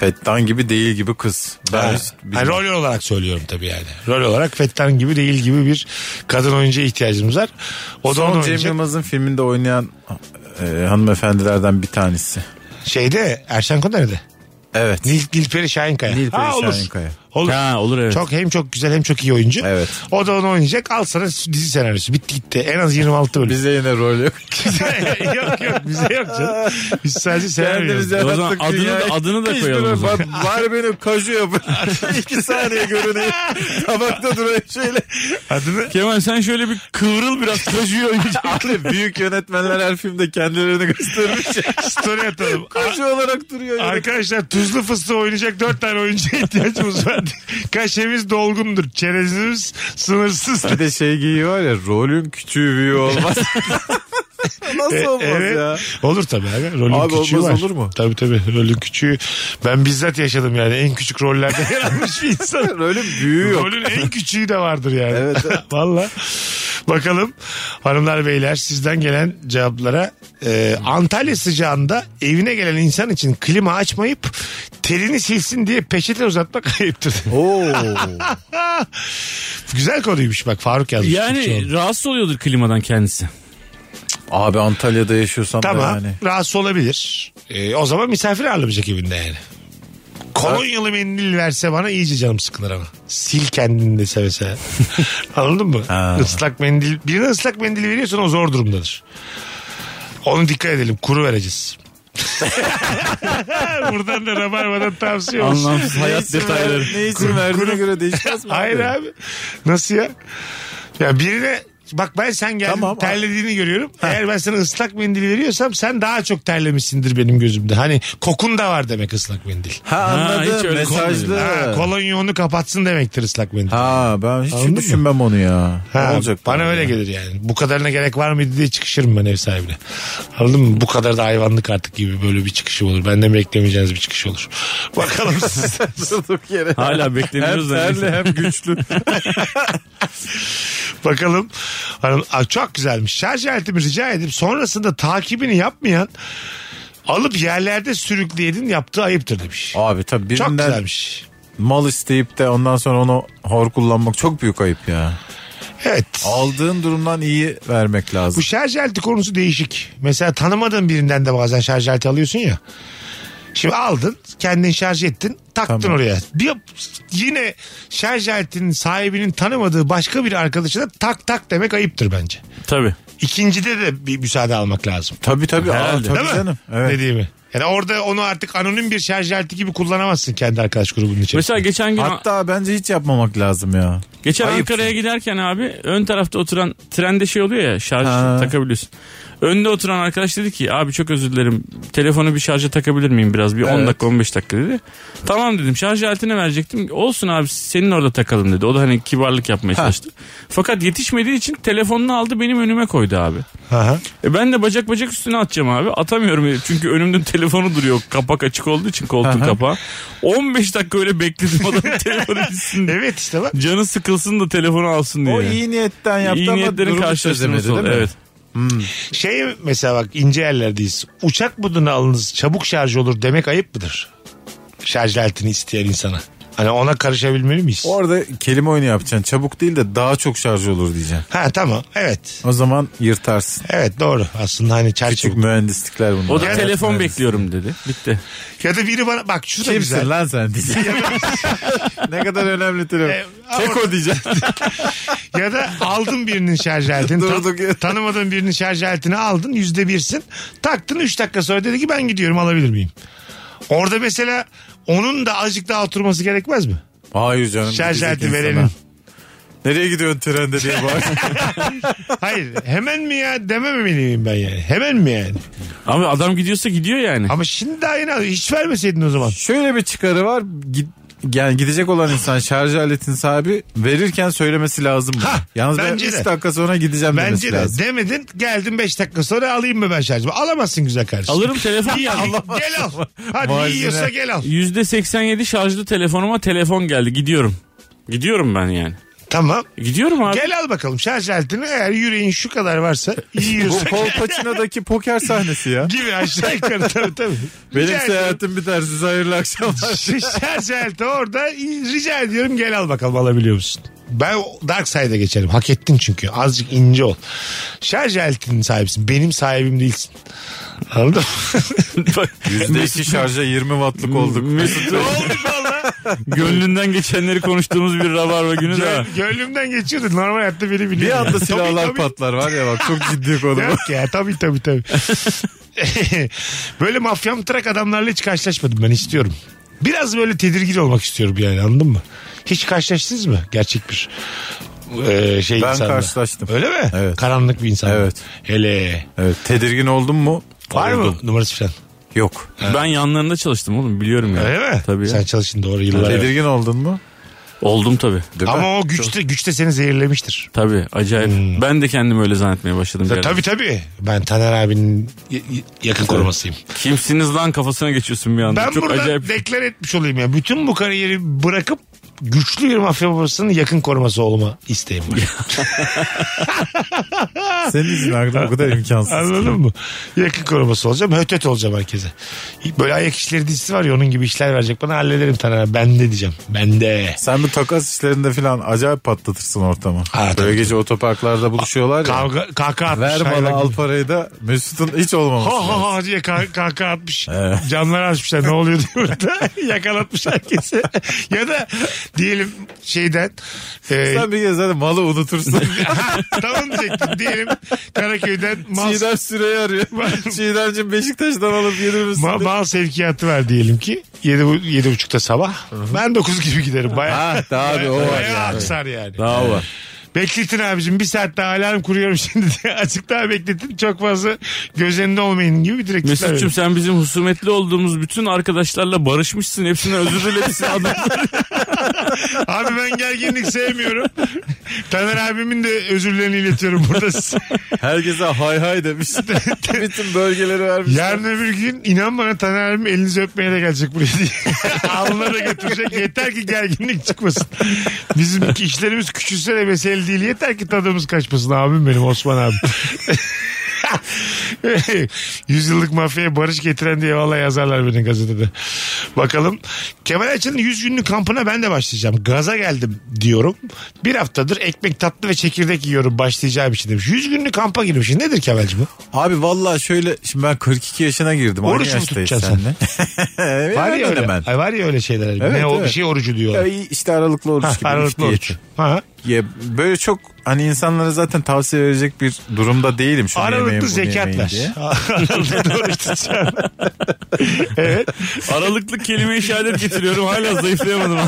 [SPEAKER 4] Fettan gibi değil gibi kız. Ben
[SPEAKER 3] Ha,
[SPEAKER 4] hiç
[SPEAKER 3] ha,
[SPEAKER 4] bilmiyorum.
[SPEAKER 3] rol olarak söylüyorum tabii yani. Rol olarak Fettan gibi değil gibi bir kadın oyuncuya ihtiyacımız var. O da onu
[SPEAKER 4] Son Cem
[SPEAKER 3] oynayacak.
[SPEAKER 4] Yılmaz'ın filminde oynayan e, hanımefendilerden bir tanesi.
[SPEAKER 3] Şeyde Erşen Koner'de.
[SPEAKER 4] Evet.
[SPEAKER 3] Nil, Nilperi Şahinkaya.
[SPEAKER 4] Nilperi
[SPEAKER 3] Ha, olur.
[SPEAKER 4] Şahinkaya.
[SPEAKER 3] Olur.
[SPEAKER 5] Ha olur evet.
[SPEAKER 3] Çok hem çok güzel hem çok iyi oyuncu.
[SPEAKER 4] Evet.
[SPEAKER 3] O da onu oynayacak. Al sana dizi senaryosu. Bitti gitti. En az 26 bölüm.
[SPEAKER 4] Bize yine rol yok.
[SPEAKER 3] yok yok bize yok canım. Biz sadece senaryo. yazdık.
[SPEAKER 4] Kendimize
[SPEAKER 5] O zaman adını da- adını da koyalım o zaman.
[SPEAKER 4] Bari benim kaju yapın. İki saniye görüneyim. Tabakta duruyor şöyle.
[SPEAKER 3] Adını
[SPEAKER 5] Kemal sen şöyle bir kıvrıl biraz kaşıyor.
[SPEAKER 4] Abi büyük yönetmenler her filmde kendilerini göstermiş.
[SPEAKER 3] story atalım.
[SPEAKER 4] Kaju olarak duruyor. yine.
[SPEAKER 3] Arkadaşlar tuzlu fıstığı oynayacak dört tane oyuncuya ihtiyacımız var. Kaşemiz dolgundur. Çerezimiz sınırsız.
[SPEAKER 4] Bir de şey giyiyor var ya rolün küçüğü büyüğü olmaz.
[SPEAKER 5] E,
[SPEAKER 4] Nasıl olmaz
[SPEAKER 3] E, Evet.
[SPEAKER 4] ya?
[SPEAKER 3] Olur tabii abi. Rolün
[SPEAKER 4] Abi
[SPEAKER 3] küçüğü
[SPEAKER 4] olmaz
[SPEAKER 3] var.
[SPEAKER 4] olur mu?
[SPEAKER 3] Tabii tabii. Rolün küçüğü. Ben bizzat yaşadım yani. En küçük rollerde yer almış bir insan.
[SPEAKER 4] Rolün büyüğü yok.
[SPEAKER 3] Rolün en küçüğü de vardır yani.
[SPEAKER 4] Evet, evet.
[SPEAKER 3] Valla. Bakalım hanımlar beyler sizden gelen cevaplara Ee, Antalya sıcağında evine gelen insan için klima açmayıp telini silsin diye peçete uzatmak ayıptır.
[SPEAKER 4] Oo.
[SPEAKER 3] Güzel konuymuş bak Faruk yazmış.
[SPEAKER 5] yani rahatsız oluyordur klimadan kendisi.
[SPEAKER 4] Abi Antalya'da yaşıyorsan da
[SPEAKER 3] Tamam
[SPEAKER 4] yani.
[SPEAKER 3] rahatsız olabilir. Ee, o zaman misafir ağırlamayacak evinde yani. Kolonyalı mendil verse bana iyice canım sıkılır ama. Sil kendini dese mesela. Anladın mı?
[SPEAKER 4] Ha.
[SPEAKER 3] Islak mendil. Birine ıslak mendil veriyorsan o zor durumdadır. Onu dikkat edelim. Kuru vereceğiz. Buradan da Rabarba'dan tavsiye olsun.
[SPEAKER 5] Anlamsız hayat detayları.
[SPEAKER 4] Ne izin verdiğine göre değişmez mi?
[SPEAKER 3] Hayır abi. Nasıl ya? Ya birine bak ben sen geldin
[SPEAKER 4] Tamam.
[SPEAKER 3] terlediğini görüyorum. Eğer ben sana ıslak mendil veriyorsam sen daha çok terlemişsindir benim gözümde. Hani kokun da var demek ıslak mendil.
[SPEAKER 4] Ha
[SPEAKER 5] Ha, hiç
[SPEAKER 4] anladım.
[SPEAKER 5] öyle
[SPEAKER 4] Mesajlı.
[SPEAKER 3] Ha,
[SPEAKER 4] Ha,
[SPEAKER 3] kolonya onu kapatsın demektir ıslak mendil.
[SPEAKER 4] ben hiç
[SPEAKER 3] Anladın mı?
[SPEAKER 4] düşünmem onu ya.
[SPEAKER 3] Ha,
[SPEAKER 4] ne olacak?
[SPEAKER 3] bana
[SPEAKER 4] bana
[SPEAKER 3] öyle
[SPEAKER 4] ya?
[SPEAKER 3] gelir yani. Bu kadarına gerek var mıydı diye çıkışırım ben ev sahibine. Anladın mı? Bu kadar da hayvanlık artık gibi böyle bir çıkışı olur. Benden beklemeyeceğiniz bir çıkış olur. Bakalım siz.
[SPEAKER 4] Durduk yere.
[SPEAKER 5] Hala
[SPEAKER 4] Hem
[SPEAKER 5] beklemiyoruz da.
[SPEAKER 4] terli hem güçlü.
[SPEAKER 3] Bakalım. Hanım, Aa, çok güzelmiş. Şarj aletimi rica edip sonrasında takibini yapmayan alıp yerlerde sürükleyenin yaptığı ayıptır demiş.
[SPEAKER 4] Abi tabii
[SPEAKER 3] çok şey.
[SPEAKER 4] birinden
[SPEAKER 3] güzelmiş.
[SPEAKER 4] mal isteyip de ondan sonra onu hor kullanmak çok büyük ayıp ya.
[SPEAKER 3] Evet.
[SPEAKER 4] Aldığın durumdan iyi vermek lazım.
[SPEAKER 3] Bu şarj aleti konusu değişik. Mesela tanımadığın birinden de bazen şarj aleti alıyorsun ya. Şimdi aldın, kendin şarj ettin. taktın
[SPEAKER 4] Tamam.
[SPEAKER 3] oraya. Bir, yine şarj aletinin sahibinin tanımadığı başka bir arkadaşına tak tak demek ayıptır bence.
[SPEAKER 5] Tabii.
[SPEAKER 3] İkincide de bir müsaade almak lazım.
[SPEAKER 4] Tabii tabii. Aa,
[SPEAKER 5] Herhalde.
[SPEAKER 4] tabii
[SPEAKER 3] Değil mi?
[SPEAKER 4] canım. Evet.
[SPEAKER 3] Dediğimi. Yani orada onu artık anonim bir şarj aleti gibi kullanamazsın kendi arkadaş grubunun içerisinde.
[SPEAKER 5] Mesela geçen gün
[SPEAKER 4] Hatta bence hiç yapmamak lazım ya.
[SPEAKER 5] geçen
[SPEAKER 4] Ayıp.
[SPEAKER 5] Ankara'ya giderken abi ön tarafta oturan trende şey oluyor ya şarj
[SPEAKER 4] Ha.
[SPEAKER 5] takabiliyorsun. Önde oturan arkadaş dedi ki abi çok özür dilerim telefonu bir şarja takabilir miyim biraz bir 10
[SPEAKER 4] Evet.
[SPEAKER 5] dakika 15 dakika dedi. Tamam dedim şarj aletine verecektim olsun abi senin orada takalım dedi. O da hani kibarlık yapmaya çalıştı. Fakat yetişmediği için telefonunu aldı benim önüme koydu abi.
[SPEAKER 3] Aha.
[SPEAKER 5] E ben de bacak bacak üstüne atacağım abi. Atamıyorum herif. çünkü önümde telefonu duruyor. Kapak açık olduğu için koltuğun kapağı. 15 dakika öyle bekledim adam telefonu gitsin. diye.
[SPEAKER 3] Evet işte bak.
[SPEAKER 5] Canı sıkılsın da telefonu alsın diye.
[SPEAKER 4] O iyi niyetten yaptı
[SPEAKER 5] İyi
[SPEAKER 4] ama
[SPEAKER 5] niyetlerin
[SPEAKER 4] durumu
[SPEAKER 5] karşılaştırması
[SPEAKER 4] çözemedi
[SPEAKER 5] oldu.
[SPEAKER 4] değil mi?
[SPEAKER 5] Evet.
[SPEAKER 3] Şey mesela bak ince yerlerdeyiz. Uçak moduna alınız çabuk şarj olur demek ayıp mıdır? Şarj aletini isteyen insana. Hani ona karışabilmeli miyiz?
[SPEAKER 4] Orada kelime oyunu yapacaksın. Çabuk değil de daha çok şarj olur diyeceksin.
[SPEAKER 3] Ha tamam evet.
[SPEAKER 4] O zaman yırtarsın.
[SPEAKER 3] Evet doğru. Aslında hani çarj
[SPEAKER 4] Küçük
[SPEAKER 3] çabuk.
[SPEAKER 4] mühendislikler bunlar.
[SPEAKER 5] O da
[SPEAKER 4] Evet,
[SPEAKER 5] telefon
[SPEAKER 4] mühendis.
[SPEAKER 5] bekliyorum dedi. Bitti.
[SPEAKER 3] Ya da biri bana bak şu da güzel.
[SPEAKER 4] Kimsin lan sen diyeceksin. ne kadar önemli
[SPEAKER 3] E,
[SPEAKER 4] telefon.
[SPEAKER 3] ama-
[SPEAKER 4] Keko diyeceksin.
[SPEAKER 3] Ya da aldın birinin şarj aletini. tan-
[SPEAKER 4] Durduk yere.
[SPEAKER 3] tanımadığın birinin şarj aletini aldın. Yüzde birsin. Taktın 3 dakika sonra dedi ki ben gidiyorum alabilir miyim? Orada mesela onun da azıcık daha oturması gerekmez mi?
[SPEAKER 4] Hayır canım.
[SPEAKER 3] Şarj
[SPEAKER 4] diyecek
[SPEAKER 3] aleti
[SPEAKER 4] insana.
[SPEAKER 3] verenin.
[SPEAKER 4] Nereye gidiyorsun trende diye bağır.
[SPEAKER 3] Hayır hemen mi ya dememeliyim ben yani. Hemen mi yani?
[SPEAKER 5] Ama adam gidiyorsa gidiyor yani.
[SPEAKER 3] Ama şimdi daha yeni aldın. Hiç vermeseydin o zaman.
[SPEAKER 4] Şöyle bir çıkarı var. Gid- yani gidecek olan insan şarj aletinin sahibi verirken söylemesi lazım. bunu.
[SPEAKER 3] Ha,
[SPEAKER 4] Yalnız ben
[SPEAKER 3] bence
[SPEAKER 4] 3
[SPEAKER 3] de.
[SPEAKER 4] dakika sonra gideceğim demesi
[SPEAKER 3] Bence de
[SPEAKER 4] lazım.
[SPEAKER 3] demedin geldin 5 dakika sonra alayım mı ben şarjımı? Alamazsın güzel kardeşim.
[SPEAKER 5] Alırım telefon geldi.
[SPEAKER 3] Gel al. Hadi
[SPEAKER 4] Malzeme.
[SPEAKER 3] yiyorsa gel al.
[SPEAKER 5] %87 şarjlı telefonuma telefon geldi. Gidiyorum. Gidiyorum ben yani.
[SPEAKER 3] Tamam.
[SPEAKER 5] Gidiyorum abi.
[SPEAKER 3] Gel al bakalım şarj aletini eğer yüreğin şu kadar varsa
[SPEAKER 4] Bu
[SPEAKER 3] yiyorsa
[SPEAKER 4] Paul Pacino'daki poker sahnesi ya.
[SPEAKER 3] gibi aşağı yukarı tabii tabii.
[SPEAKER 4] Benim
[SPEAKER 3] Rica ediyorum.
[SPEAKER 4] seyahatim biter size hayırlı akşamlar.
[SPEAKER 3] Şarj aleti orada rica ediyorum gel al bakalım alabiliyor musun? Ben o Dark Side'a geçerim. Hak ettin çünkü. Azıcık ince ol. Şarj aletinin sahibisin. Benim sahibim değilsin. Anladın mı?
[SPEAKER 4] %2 şarja 20 wattlık olduk.
[SPEAKER 5] Mesut
[SPEAKER 3] Olduk valla.
[SPEAKER 5] gönlünden geçenleri konuştuğumuz bir rabarba günü de.
[SPEAKER 3] Gö- Gönlümden geçiyordu. Normal hayatta beni biliyor.
[SPEAKER 4] Bir anda
[SPEAKER 3] Tabii,
[SPEAKER 4] silahlar
[SPEAKER 3] tabii.
[SPEAKER 4] patlar var ya bak çok ciddi konu bu.
[SPEAKER 3] Yok ya tabii tabii tabii. böyle mafyam trak adamlarla hiç karşılaşmadım ben istiyorum. Biraz böyle tedirgin olmak istiyorum yani anladın mı? Hiç karşılaştınız mı gerçek bir e, şey
[SPEAKER 4] Ben
[SPEAKER 3] insanla?
[SPEAKER 4] karşılaştım.
[SPEAKER 3] Öyle mi?
[SPEAKER 4] Evet.
[SPEAKER 3] Karanlık bir insan.
[SPEAKER 4] Evet.
[SPEAKER 3] Hele.
[SPEAKER 4] Evet, tedirgin oldun mu?
[SPEAKER 3] Var mı
[SPEAKER 4] Oldum.
[SPEAKER 3] numarası falan?
[SPEAKER 4] Yok.
[SPEAKER 5] Ben yanlarında çalıştım oğlum biliyorum ya.
[SPEAKER 3] Öyle mi?
[SPEAKER 5] Tabii. ya.
[SPEAKER 3] Sen çalışın doğru yıllar.
[SPEAKER 4] Tedirgin oldun mu?
[SPEAKER 5] Oldum tabii.
[SPEAKER 4] Değil mi? Hmm.
[SPEAKER 3] Ama o güçte güçte seni zehirlemiştir.
[SPEAKER 5] Tabii acayip. Ben de kendimi öyle zannetmeye başladım. bir ara.
[SPEAKER 3] Tabii tabii. Ben Taner abinin y- y- yakın korumasıyım.
[SPEAKER 5] Kimsiniz lan kafasına geçiyorsun bir anda.
[SPEAKER 3] Ben
[SPEAKER 5] Çok
[SPEAKER 3] burada
[SPEAKER 5] acayip.
[SPEAKER 3] deklar etmiş olayım ya. Bütün bu kariyeri bırakıp güçlü bir mafya babasının yakın koruması olma isteğim var.
[SPEAKER 4] Senin için aklım o kadar imkansız.
[SPEAKER 3] Anladın mı? Yakın koruması olacağım. Hötet olacağım herkese. Böyle ayak işleri dizisi var ya onun gibi işler verecek bana hallederim Taner abi. Ben de diyeceğim. Ben de.
[SPEAKER 4] Sen bu takas işlerinde falan acayip patlatırsın ortamı.
[SPEAKER 3] Ha, tabii,
[SPEAKER 4] Böyle gece otoparklarda buluşuyorlar ya.
[SPEAKER 3] Kavga, kahkaha atmış.
[SPEAKER 4] Ver bana
[SPEAKER 3] hayvan
[SPEAKER 4] al
[SPEAKER 3] gibi.
[SPEAKER 4] parayı da Mesut'un hiç olmaması.
[SPEAKER 3] Ha
[SPEAKER 4] lazım.
[SPEAKER 3] ha ha diye kah- kahkaha atmış. Camları açmışlar ne oluyor diye burada. Yakalatmış herkesi. ya da diyelim şeyden. e,
[SPEAKER 4] Sen bir kez zaten malı unutursun.
[SPEAKER 3] Ha, tamam diyecektim. Diyelim Karaköy'den mal,
[SPEAKER 4] Çiğdem Süreyi arıyor. Çiğdem'cim Beşiktaş'tan alıp gelir misin?
[SPEAKER 3] ma- mal sevkiyatı var diyelim ki. Yedi, bu- yedi buçukta sabah. Ben dokuz gibi giderim. Bayağı,
[SPEAKER 4] Ha, daha bir o var
[SPEAKER 3] bayağı
[SPEAKER 4] yani.
[SPEAKER 3] aksar yani.
[SPEAKER 5] Daha var.
[SPEAKER 3] Bekletin abicim bir saat daha alarm kuruyorum şimdi diye. Azıcık daha bekletin. Çok fazla göz önünde olmayın gibi direkt.
[SPEAKER 5] Mesut'cum sen bizim husumetli olduğumuz bütün arkadaşlarla barışmışsın. Hepsine özür
[SPEAKER 4] şey
[SPEAKER 5] dilemişsin. Adam-
[SPEAKER 3] Abi ben gerginlik sevmiyorum. Taner abimin de özürlerini iletiyorum burada. size.
[SPEAKER 4] Herkese hay hay demiş. Bütün bölgeleri vermiş.
[SPEAKER 3] Yarın öbür gün inan bana Taner abim elinizi öpmeye de gelecek buraya diye. Alnına da götürecek. Yeter ki gerginlik çıkmasın. Bizim işlerimiz küçülse de mesele değil. Yeter ki tadımız kaçmasın abim benim Osman abi. Yüzyıllık mafyaya barış getiren diye valla yazarlar beni gazetede. Bakalım. Kemal Ayça'nın 100 günlük kampına ben de başlayacağım. Gaza geldim diyorum. Bir haftadır ekmek tatlı ve çekirdek yiyorum başlayacağım için demiş. 100 günlük kampa girmiş. Nedir Kemal'cim bu?
[SPEAKER 4] Abi vallahi şöyle şimdi ben 42 yaşına girdim. Aynı
[SPEAKER 3] Oruç mu
[SPEAKER 4] yaştayız
[SPEAKER 3] tutacaksın
[SPEAKER 4] seninle. evet,
[SPEAKER 3] Var ya,
[SPEAKER 4] hemen
[SPEAKER 3] öyle,
[SPEAKER 4] hemen.
[SPEAKER 3] Ay var ya öyle şeyler. ne
[SPEAKER 4] Evet,
[SPEAKER 3] o bir
[SPEAKER 4] evet.
[SPEAKER 3] şey orucu
[SPEAKER 4] Ya
[SPEAKER 3] diyorlar.
[SPEAKER 4] iyi, işte aralıklı oruç
[SPEAKER 3] Ha,
[SPEAKER 4] gibi.
[SPEAKER 3] aralıklı
[SPEAKER 4] üç
[SPEAKER 3] oruç.
[SPEAKER 4] diyet.
[SPEAKER 3] Ha.
[SPEAKER 4] Ya böyle çok hani insanlara zaten tavsiye verecek bir durumda değilim. Şunu yemeyin,
[SPEAKER 3] Aralıklı
[SPEAKER 4] bunu
[SPEAKER 3] zekat
[SPEAKER 4] yemeyin
[SPEAKER 3] ver.
[SPEAKER 4] diye.
[SPEAKER 3] Aralıklı oruç tutacağım. evet.
[SPEAKER 5] Aralıklı kelime-i şehadet getiriyorum hala zayıflayamadım.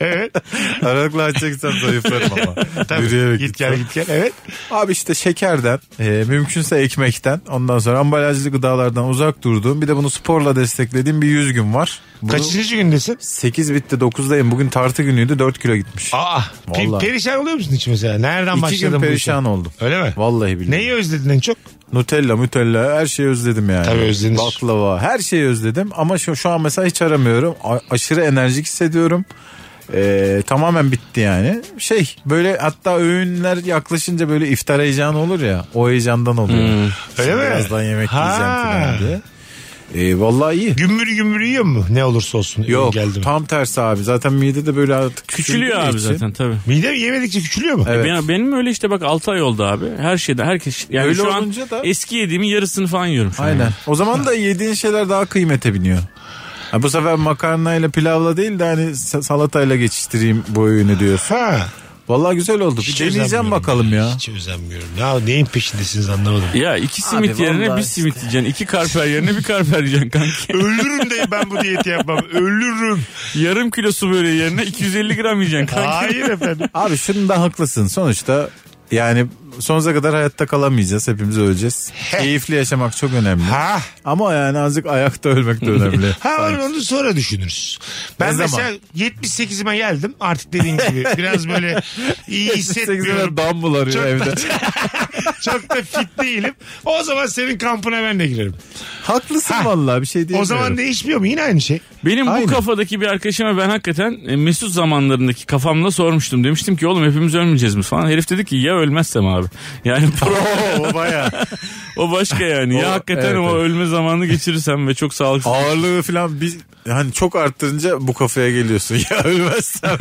[SPEAKER 3] Evet.
[SPEAKER 4] Aralıklı açacaksam zayıflarım ama.
[SPEAKER 3] Tabii.
[SPEAKER 4] Yürüyerek
[SPEAKER 3] git
[SPEAKER 4] gitsem.
[SPEAKER 3] gel git gel. Evet.
[SPEAKER 4] Abi işte şekerden, e, mümkünse ekmekten, ondan sonra ambalajlı gıdalardan uzak durduğum, bir de bunu sporla desteklediğim bir 100 gün var. Bunu
[SPEAKER 3] Kaçıncı gündesin?
[SPEAKER 4] 8 bitti 9'dayım. Bugün tartı günüydü 4 kilo gitmiş.
[SPEAKER 3] Aa. pe-
[SPEAKER 4] Vallahi.
[SPEAKER 3] perişan oluyor musun hiç mesela? Nereden
[SPEAKER 4] 2
[SPEAKER 3] başladın
[SPEAKER 4] gün
[SPEAKER 3] bu işe?
[SPEAKER 4] perişan oldum.
[SPEAKER 3] Öyle mi?
[SPEAKER 4] Vallahi billahi.
[SPEAKER 3] Neyi özledin en çok?
[SPEAKER 4] Nutella, Nutella her şeyi özledim yani.
[SPEAKER 3] Tabii özlenir.
[SPEAKER 4] Baklava her şeyi özledim ama şu, şu an mesela hiç aramıyorum. A- aşırı enerjik hissediyorum. Ee, tamamen bitti yani. Şey böyle hatta öğünler yaklaşınca böyle iftar heyecanı olur ya. O heyecandan oluyor. Şimdi
[SPEAKER 3] Hmm. Öyle mi?
[SPEAKER 4] Birazdan yemek
[SPEAKER 3] Ha.
[SPEAKER 4] yiyeceğim falan diye. Ee, vallahi iyi.
[SPEAKER 3] Gümbür gümbür yiyor mu? Ne olursa olsun.
[SPEAKER 4] Yok
[SPEAKER 3] geldi mi?
[SPEAKER 4] tam tersi abi. Zaten mide de böyle artık
[SPEAKER 5] Küçülüyor
[SPEAKER 4] küçüldüğü
[SPEAKER 5] abi
[SPEAKER 4] için.
[SPEAKER 5] zaten tabii.
[SPEAKER 3] Mide yemedikçe küçülüyor mu?
[SPEAKER 4] Evet.
[SPEAKER 5] Ben- benim öyle işte bak 6 ay oldu abi. Her şeyden herkes yani
[SPEAKER 4] Öyle
[SPEAKER 5] şu an
[SPEAKER 4] olunca da-
[SPEAKER 5] eski yediğimin yarısını falan yiyorum şu an.
[SPEAKER 4] Aynen. O zaman da yediğin şeyler daha kıymete biniyor. Ha, bu sefer makarnayla pilavla değil de hani sa- salatayla geçiştireyim bu öğünü diyorsun.
[SPEAKER 3] Ha.
[SPEAKER 4] Vallahi güzel oldu.
[SPEAKER 3] Hiç
[SPEAKER 4] Bir deneyeceğim
[SPEAKER 3] özenmiyorum.
[SPEAKER 4] bakalım ya.
[SPEAKER 3] Hiç özenmiyorum. Ya neyin peşindesiniz anlamadım.
[SPEAKER 5] Ya iki simit
[SPEAKER 4] Abi
[SPEAKER 5] yerine
[SPEAKER 4] vallahi
[SPEAKER 5] bir simit yiyeceksin. iki karper yerine bir karper yiyeceksin kanki.
[SPEAKER 3] Ölürüm de ben bu diyeti yapmam. Ölürüm.
[SPEAKER 5] Yarım kilo su böreği yerine 250 gram yiyeceksin kanki.
[SPEAKER 3] Hayır efendim.
[SPEAKER 4] Abi şundan haklısın. Sonuçta yani sonsuza kadar hayatta kalamayacağız. Hepimiz öleceğiz. Keyifli yaşamak çok önemli.
[SPEAKER 3] Ha.
[SPEAKER 4] Ama yani azıcık ayakta ölmek de önemli.
[SPEAKER 3] Ha onu sonra düşünürüz. Ben
[SPEAKER 4] Ne
[SPEAKER 3] mesela
[SPEAKER 4] zaman?
[SPEAKER 3] 78'ime geldim. Artık dediğin gibi biraz böyle iyi hissetmiyorum.
[SPEAKER 4] dam bularıyor evde.
[SPEAKER 3] Çok da fit değilim. O zaman senin kampına ben de girerim.
[SPEAKER 4] Haklısın vallahi bir şey diyemiyorum.
[SPEAKER 3] O zaman değişmiyor mu? Yine aynı şey.
[SPEAKER 5] Benim
[SPEAKER 4] Aynen.
[SPEAKER 5] bu kafadaki bir arkadaşıma ben hakikaten e, Mesut zamanlarındaki kafamla sormuştum. Demiştim ki oğlum hepimiz ölmeyeceğiz mi falan. Herif dedi ki ya ölmezsem abi. Yani
[SPEAKER 4] Oo, bayağı.
[SPEAKER 5] o başka yani.
[SPEAKER 4] O-
[SPEAKER 5] ya hakikaten
[SPEAKER 4] evet,
[SPEAKER 5] o
[SPEAKER 4] evet.
[SPEAKER 5] ölme zamanını geçirirsem ve çok sağlıksız.
[SPEAKER 4] Ağırlığı falan biz hani çok arttırınca bu kafaya geliyorsun. Ya ölmezsem.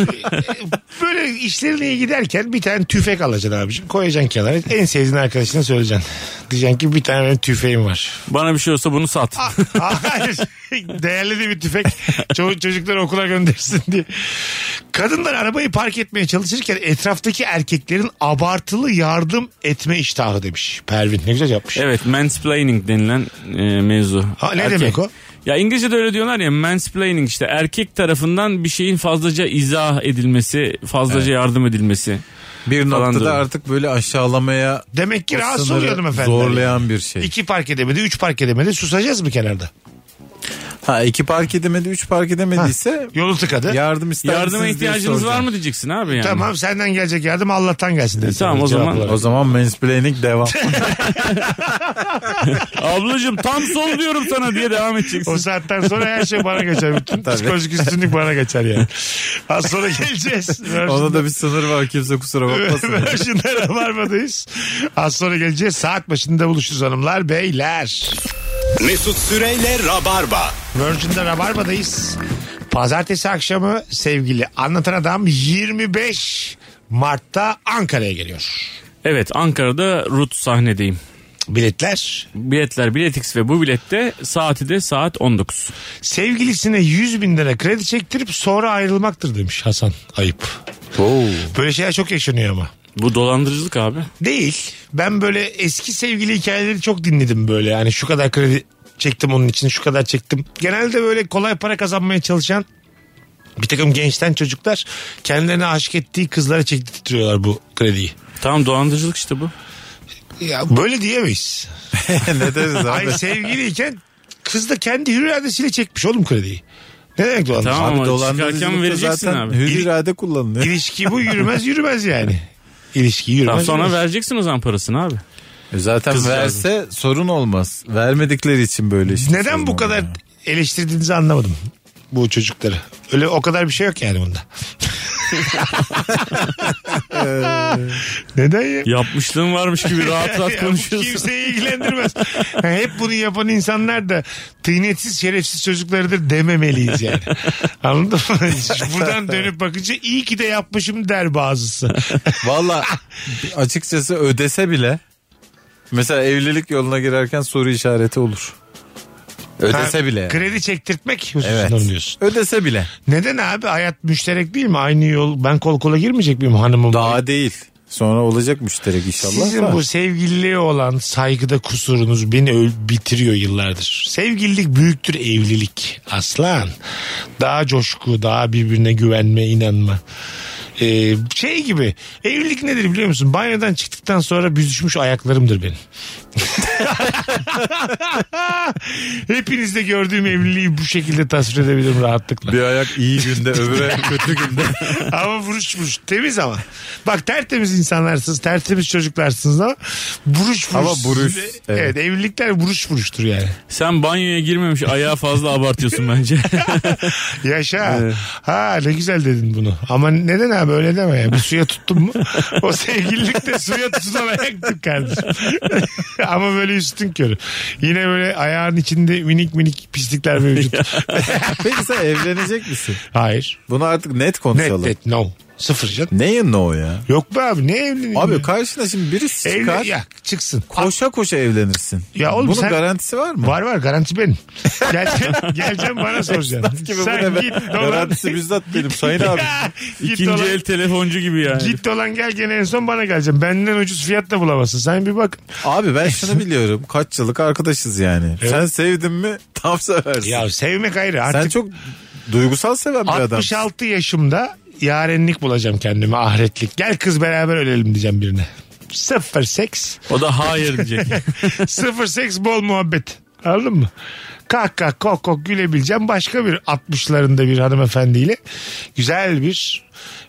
[SPEAKER 3] Böyle işlerine iyi giderken bir tane tüfek alacaksın abicim. Koyacaksın kenara. En sevdiğin arkadaşına söyleyeceksin. Diyeceksin ki bir tane benim tüfeğim var.
[SPEAKER 5] Bana bir şey olsa bunu sat.
[SPEAKER 3] Ah, Hayır. Değerli de bir tüfek. Ço- çocukları okula göndersin diye. Kadınlar arabayı park etmeye çalışırken etraftaki erkeklerin abartılı yardım etme iştahı demiş. Pervin ne güzel yapmış.
[SPEAKER 5] Evet mansplaining denilen e, mevzu.
[SPEAKER 3] Ha, ne demek o?
[SPEAKER 5] Ya İngilizce'de öyle diyorlar ya mansplaining işte erkek tarafından bir şeyin fazlaca izah edilmesi, fazlaca yardım edilmesi.
[SPEAKER 4] Bir
[SPEAKER 5] Falan
[SPEAKER 4] noktada
[SPEAKER 5] diyorum.
[SPEAKER 4] artık böyle aşağılamaya
[SPEAKER 3] Demek ki
[SPEAKER 4] o
[SPEAKER 3] rahatsız
[SPEAKER 4] sınırı
[SPEAKER 3] oluyordum efendim.
[SPEAKER 4] Zorlayan bir şey.
[SPEAKER 3] İki park edemedi, üç park edemedi. Susacağız mı kenarda?
[SPEAKER 4] ha iki park edemedi, üç park edemediyse
[SPEAKER 3] Yolu tıkadı.
[SPEAKER 4] yardım ister
[SPEAKER 5] Yardıma
[SPEAKER 4] misiniz diye
[SPEAKER 5] ihtiyacınız var
[SPEAKER 4] soracağım.
[SPEAKER 5] mı diyeceksin abi yani.
[SPEAKER 3] Tamam senden gelecek yardım Allah'tan gelsin. dedi.
[SPEAKER 5] Tamam, o
[SPEAKER 3] Cevap
[SPEAKER 5] zaman-
[SPEAKER 3] olarak.
[SPEAKER 4] E, O zaman mansplaining devam.
[SPEAKER 5] Ablacığım tam sol diyorum sana diye devam edeceksin.
[SPEAKER 3] O saatten sonra her şey bana geçer. Bütün
[SPEAKER 4] Tabii.
[SPEAKER 3] psikolojik üstünlük bana geçer yani. Az sonra geleceğiz.
[SPEAKER 4] Ona da bir sınır var kimse kusura bakmasın.
[SPEAKER 3] Virgin'de Rabarba'dayız. Az sonra geleceğiz. Saat başında buluşuruz hanımlar beyler.
[SPEAKER 2] Mesut Süreyle Rabarba.
[SPEAKER 3] Virgin'de Rabarba'dayız. Pazartesi akşamı sevgili anlatan adam 25 Mart'ta Ankara'ya geliyor.
[SPEAKER 5] Evet Ankara'da Rut sahnedeyim.
[SPEAKER 3] Biletler
[SPEAKER 5] Biletler Biletix ve bu bilette saati de saat 19.
[SPEAKER 3] sevgilisine 100 bin lira kredi çektirip sonra ayrılmaktır demiş Hasan. Ayıp. Böyle şeyler çok yaşanıyor ama.
[SPEAKER 5] Bu dolandırıcılık abi.
[SPEAKER 3] Değil. Ben böyle eski sevgili hikayeleri çok dinledim böyle. Yani şu kadar kredi çektim onun için şu kadar çektim. Genelde böyle kolay para kazanmaya çalışan bir takım gençten çocuklar kendilerine aşık ettiği kızlara çektiriyorlar bu krediyi.
[SPEAKER 5] Tamam dolandırıcılık işte bu.
[SPEAKER 3] Ya böyle diyemeyiz.
[SPEAKER 4] ne deriz abi?
[SPEAKER 3] Ay sevgiliyken kız da kendi hür iradesiyle çekmiş oğlum krediyi. Ne demek dolandırıcı?
[SPEAKER 5] Tamam.
[SPEAKER 4] Abi
[SPEAKER 5] Ama
[SPEAKER 4] dolandırıcılıkta
[SPEAKER 5] çıkarken vereceksin
[SPEAKER 4] zaten
[SPEAKER 5] abi.
[SPEAKER 4] hür irade kullanılıyor.
[SPEAKER 3] İlişki bu yürümez yürümez yani. İlişki yürümez.
[SPEAKER 5] Tamam, sonra
[SPEAKER 3] yürümez.
[SPEAKER 5] vereceksin o zaman parasını abi.
[SPEAKER 4] E Zaten
[SPEAKER 5] Kız
[SPEAKER 4] verse sorun olmaz. Vermedikleri için böyle işte.
[SPEAKER 3] Neden
[SPEAKER 4] sorun
[SPEAKER 3] bu kadar
[SPEAKER 4] olmuyor.
[SPEAKER 3] eleştirdiğinizi anlamadım bu çocukları. Öyle o kadar bir şey yok yani bunda. Neden ya?
[SPEAKER 5] Yapmışlığım varmış gibi rahat rahat
[SPEAKER 3] Ya bu
[SPEAKER 5] konuşuyorsun.
[SPEAKER 3] Kimseyi ilgilendirmez. Ha, Hep bunu yapan insanlar da tıynetsiz şerefsiz çocuklarıdır dememeliyiz yani. Anladın mı? Buradan dönüp bakınca iyi ki de yapmışım der bazısı.
[SPEAKER 4] Valla
[SPEAKER 3] Ah!
[SPEAKER 4] açıkçası ödese bile mesela evlilik yoluna girerken soru işareti olur. Ödese
[SPEAKER 3] Ha,
[SPEAKER 4] bile.
[SPEAKER 3] Kredi çektirtmek
[SPEAKER 4] Evet.
[SPEAKER 3] hususundan diyorsun.
[SPEAKER 4] Ödese bile.
[SPEAKER 3] Neden abi? Hayat müşterek değil mi? Aynı yol ben kol kola girmeyecek miyim hanımım?
[SPEAKER 4] Daha değil. Sonra olacak müşterek inşallah.
[SPEAKER 3] Sizin
[SPEAKER 4] da.
[SPEAKER 3] bu sevgililiğe olan saygıda kusurunuz beni öl- bitiriyor yıllardır. Sevgililik büyüktür evlilik aslan. Daha coşku, daha birbirine güvenme, inanma. Ee, şey gibi evlilik nedir biliyor musun? Banyodan çıktıktan sonra büzüşmüş ayaklarımdır benim. Hepinizde gördüğüm evliliği bu şekilde tasvir edebilirim rahatlıkla.
[SPEAKER 4] Bir ayak iyi günde öbür ayak kötü günde.
[SPEAKER 3] Ama vuruş vuruş. Temiz ama. Bak tertemiz insanlarsınız. Tertemiz çocuklarsınız ama vuruş vuruş.
[SPEAKER 4] Ama vuruş,
[SPEAKER 3] Evet.
[SPEAKER 4] evet.
[SPEAKER 3] evlilikler vuruş vuruştur yani.
[SPEAKER 5] Sen banyoya girmemiş ayağı fazla abartıyorsun bence.
[SPEAKER 3] Yaşa. Ha ne güzel dedin bunu. Ama neden abi öyle deme ya. Bir suya tuttun mu? o sevgililik de suya tutulamayaktır kardeşim. ama böyle üstün körü. Yine böyle ayağın içinde minik minik pislikler mevcut.
[SPEAKER 4] Peki sen evlenecek misin?
[SPEAKER 3] Hayır.
[SPEAKER 4] Bunu artık net
[SPEAKER 3] Net
[SPEAKER 4] konuşalım.
[SPEAKER 3] net no. Sıfır canım.
[SPEAKER 4] Neyin o ya?
[SPEAKER 3] Yok be abi ne evliliği?
[SPEAKER 4] Abi
[SPEAKER 3] ya?
[SPEAKER 4] karşına şimdi birisi çıkar.
[SPEAKER 3] Evli, ya, çıksın.
[SPEAKER 4] Koşa koşa evlenirsin.
[SPEAKER 3] Ya oğlum
[SPEAKER 4] Bunun
[SPEAKER 3] sen-
[SPEAKER 4] garantisi var mı?
[SPEAKER 3] Var var garanti benim. Geleceğim, geleceğim bana soracaksın.
[SPEAKER 4] Gibi bu
[SPEAKER 3] Sen
[SPEAKER 4] ne
[SPEAKER 3] git
[SPEAKER 4] be? şey
[SPEAKER 3] dolan.
[SPEAKER 4] Garantisi bizzat benim sayın abi.
[SPEAKER 3] git
[SPEAKER 5] İkinci
[SPEAKER 3] dolan,
[SPEAKER 5] el telefoncu gibi yani.
[SPEAKER 3] Git dolan gel gene en son bana geleceğim. Benden ucuz fiyat da bulamazsın. Sen bir bak.
[SPEAKER 4] Abi ben şunu biliyorum. Kaç yıllık arkadaşız yani. Sen sevdin mi tam seversin.
[SPEAKER 3] Ya sevmek ayrı.
[SPEAKER 4] Sen
[SPEAKER 3] Artık
[SPEAKER 4] çok duygusal seven bir adam.
[SPEAKER 3] 66 yaşımda yarenlik bulacağım kendime ahretlik. Gel kız beraber ölelim diyeceğim birine. Sıfır seks.
[SPEAKER 5] O da hayır diyecek.
[SPEAKER 3] Sıfır seks bol muhabbet. Anladın mı? Kah kah kok kok gülebileceğim başka bir 60'larında bir hanımefendiyle güzel bir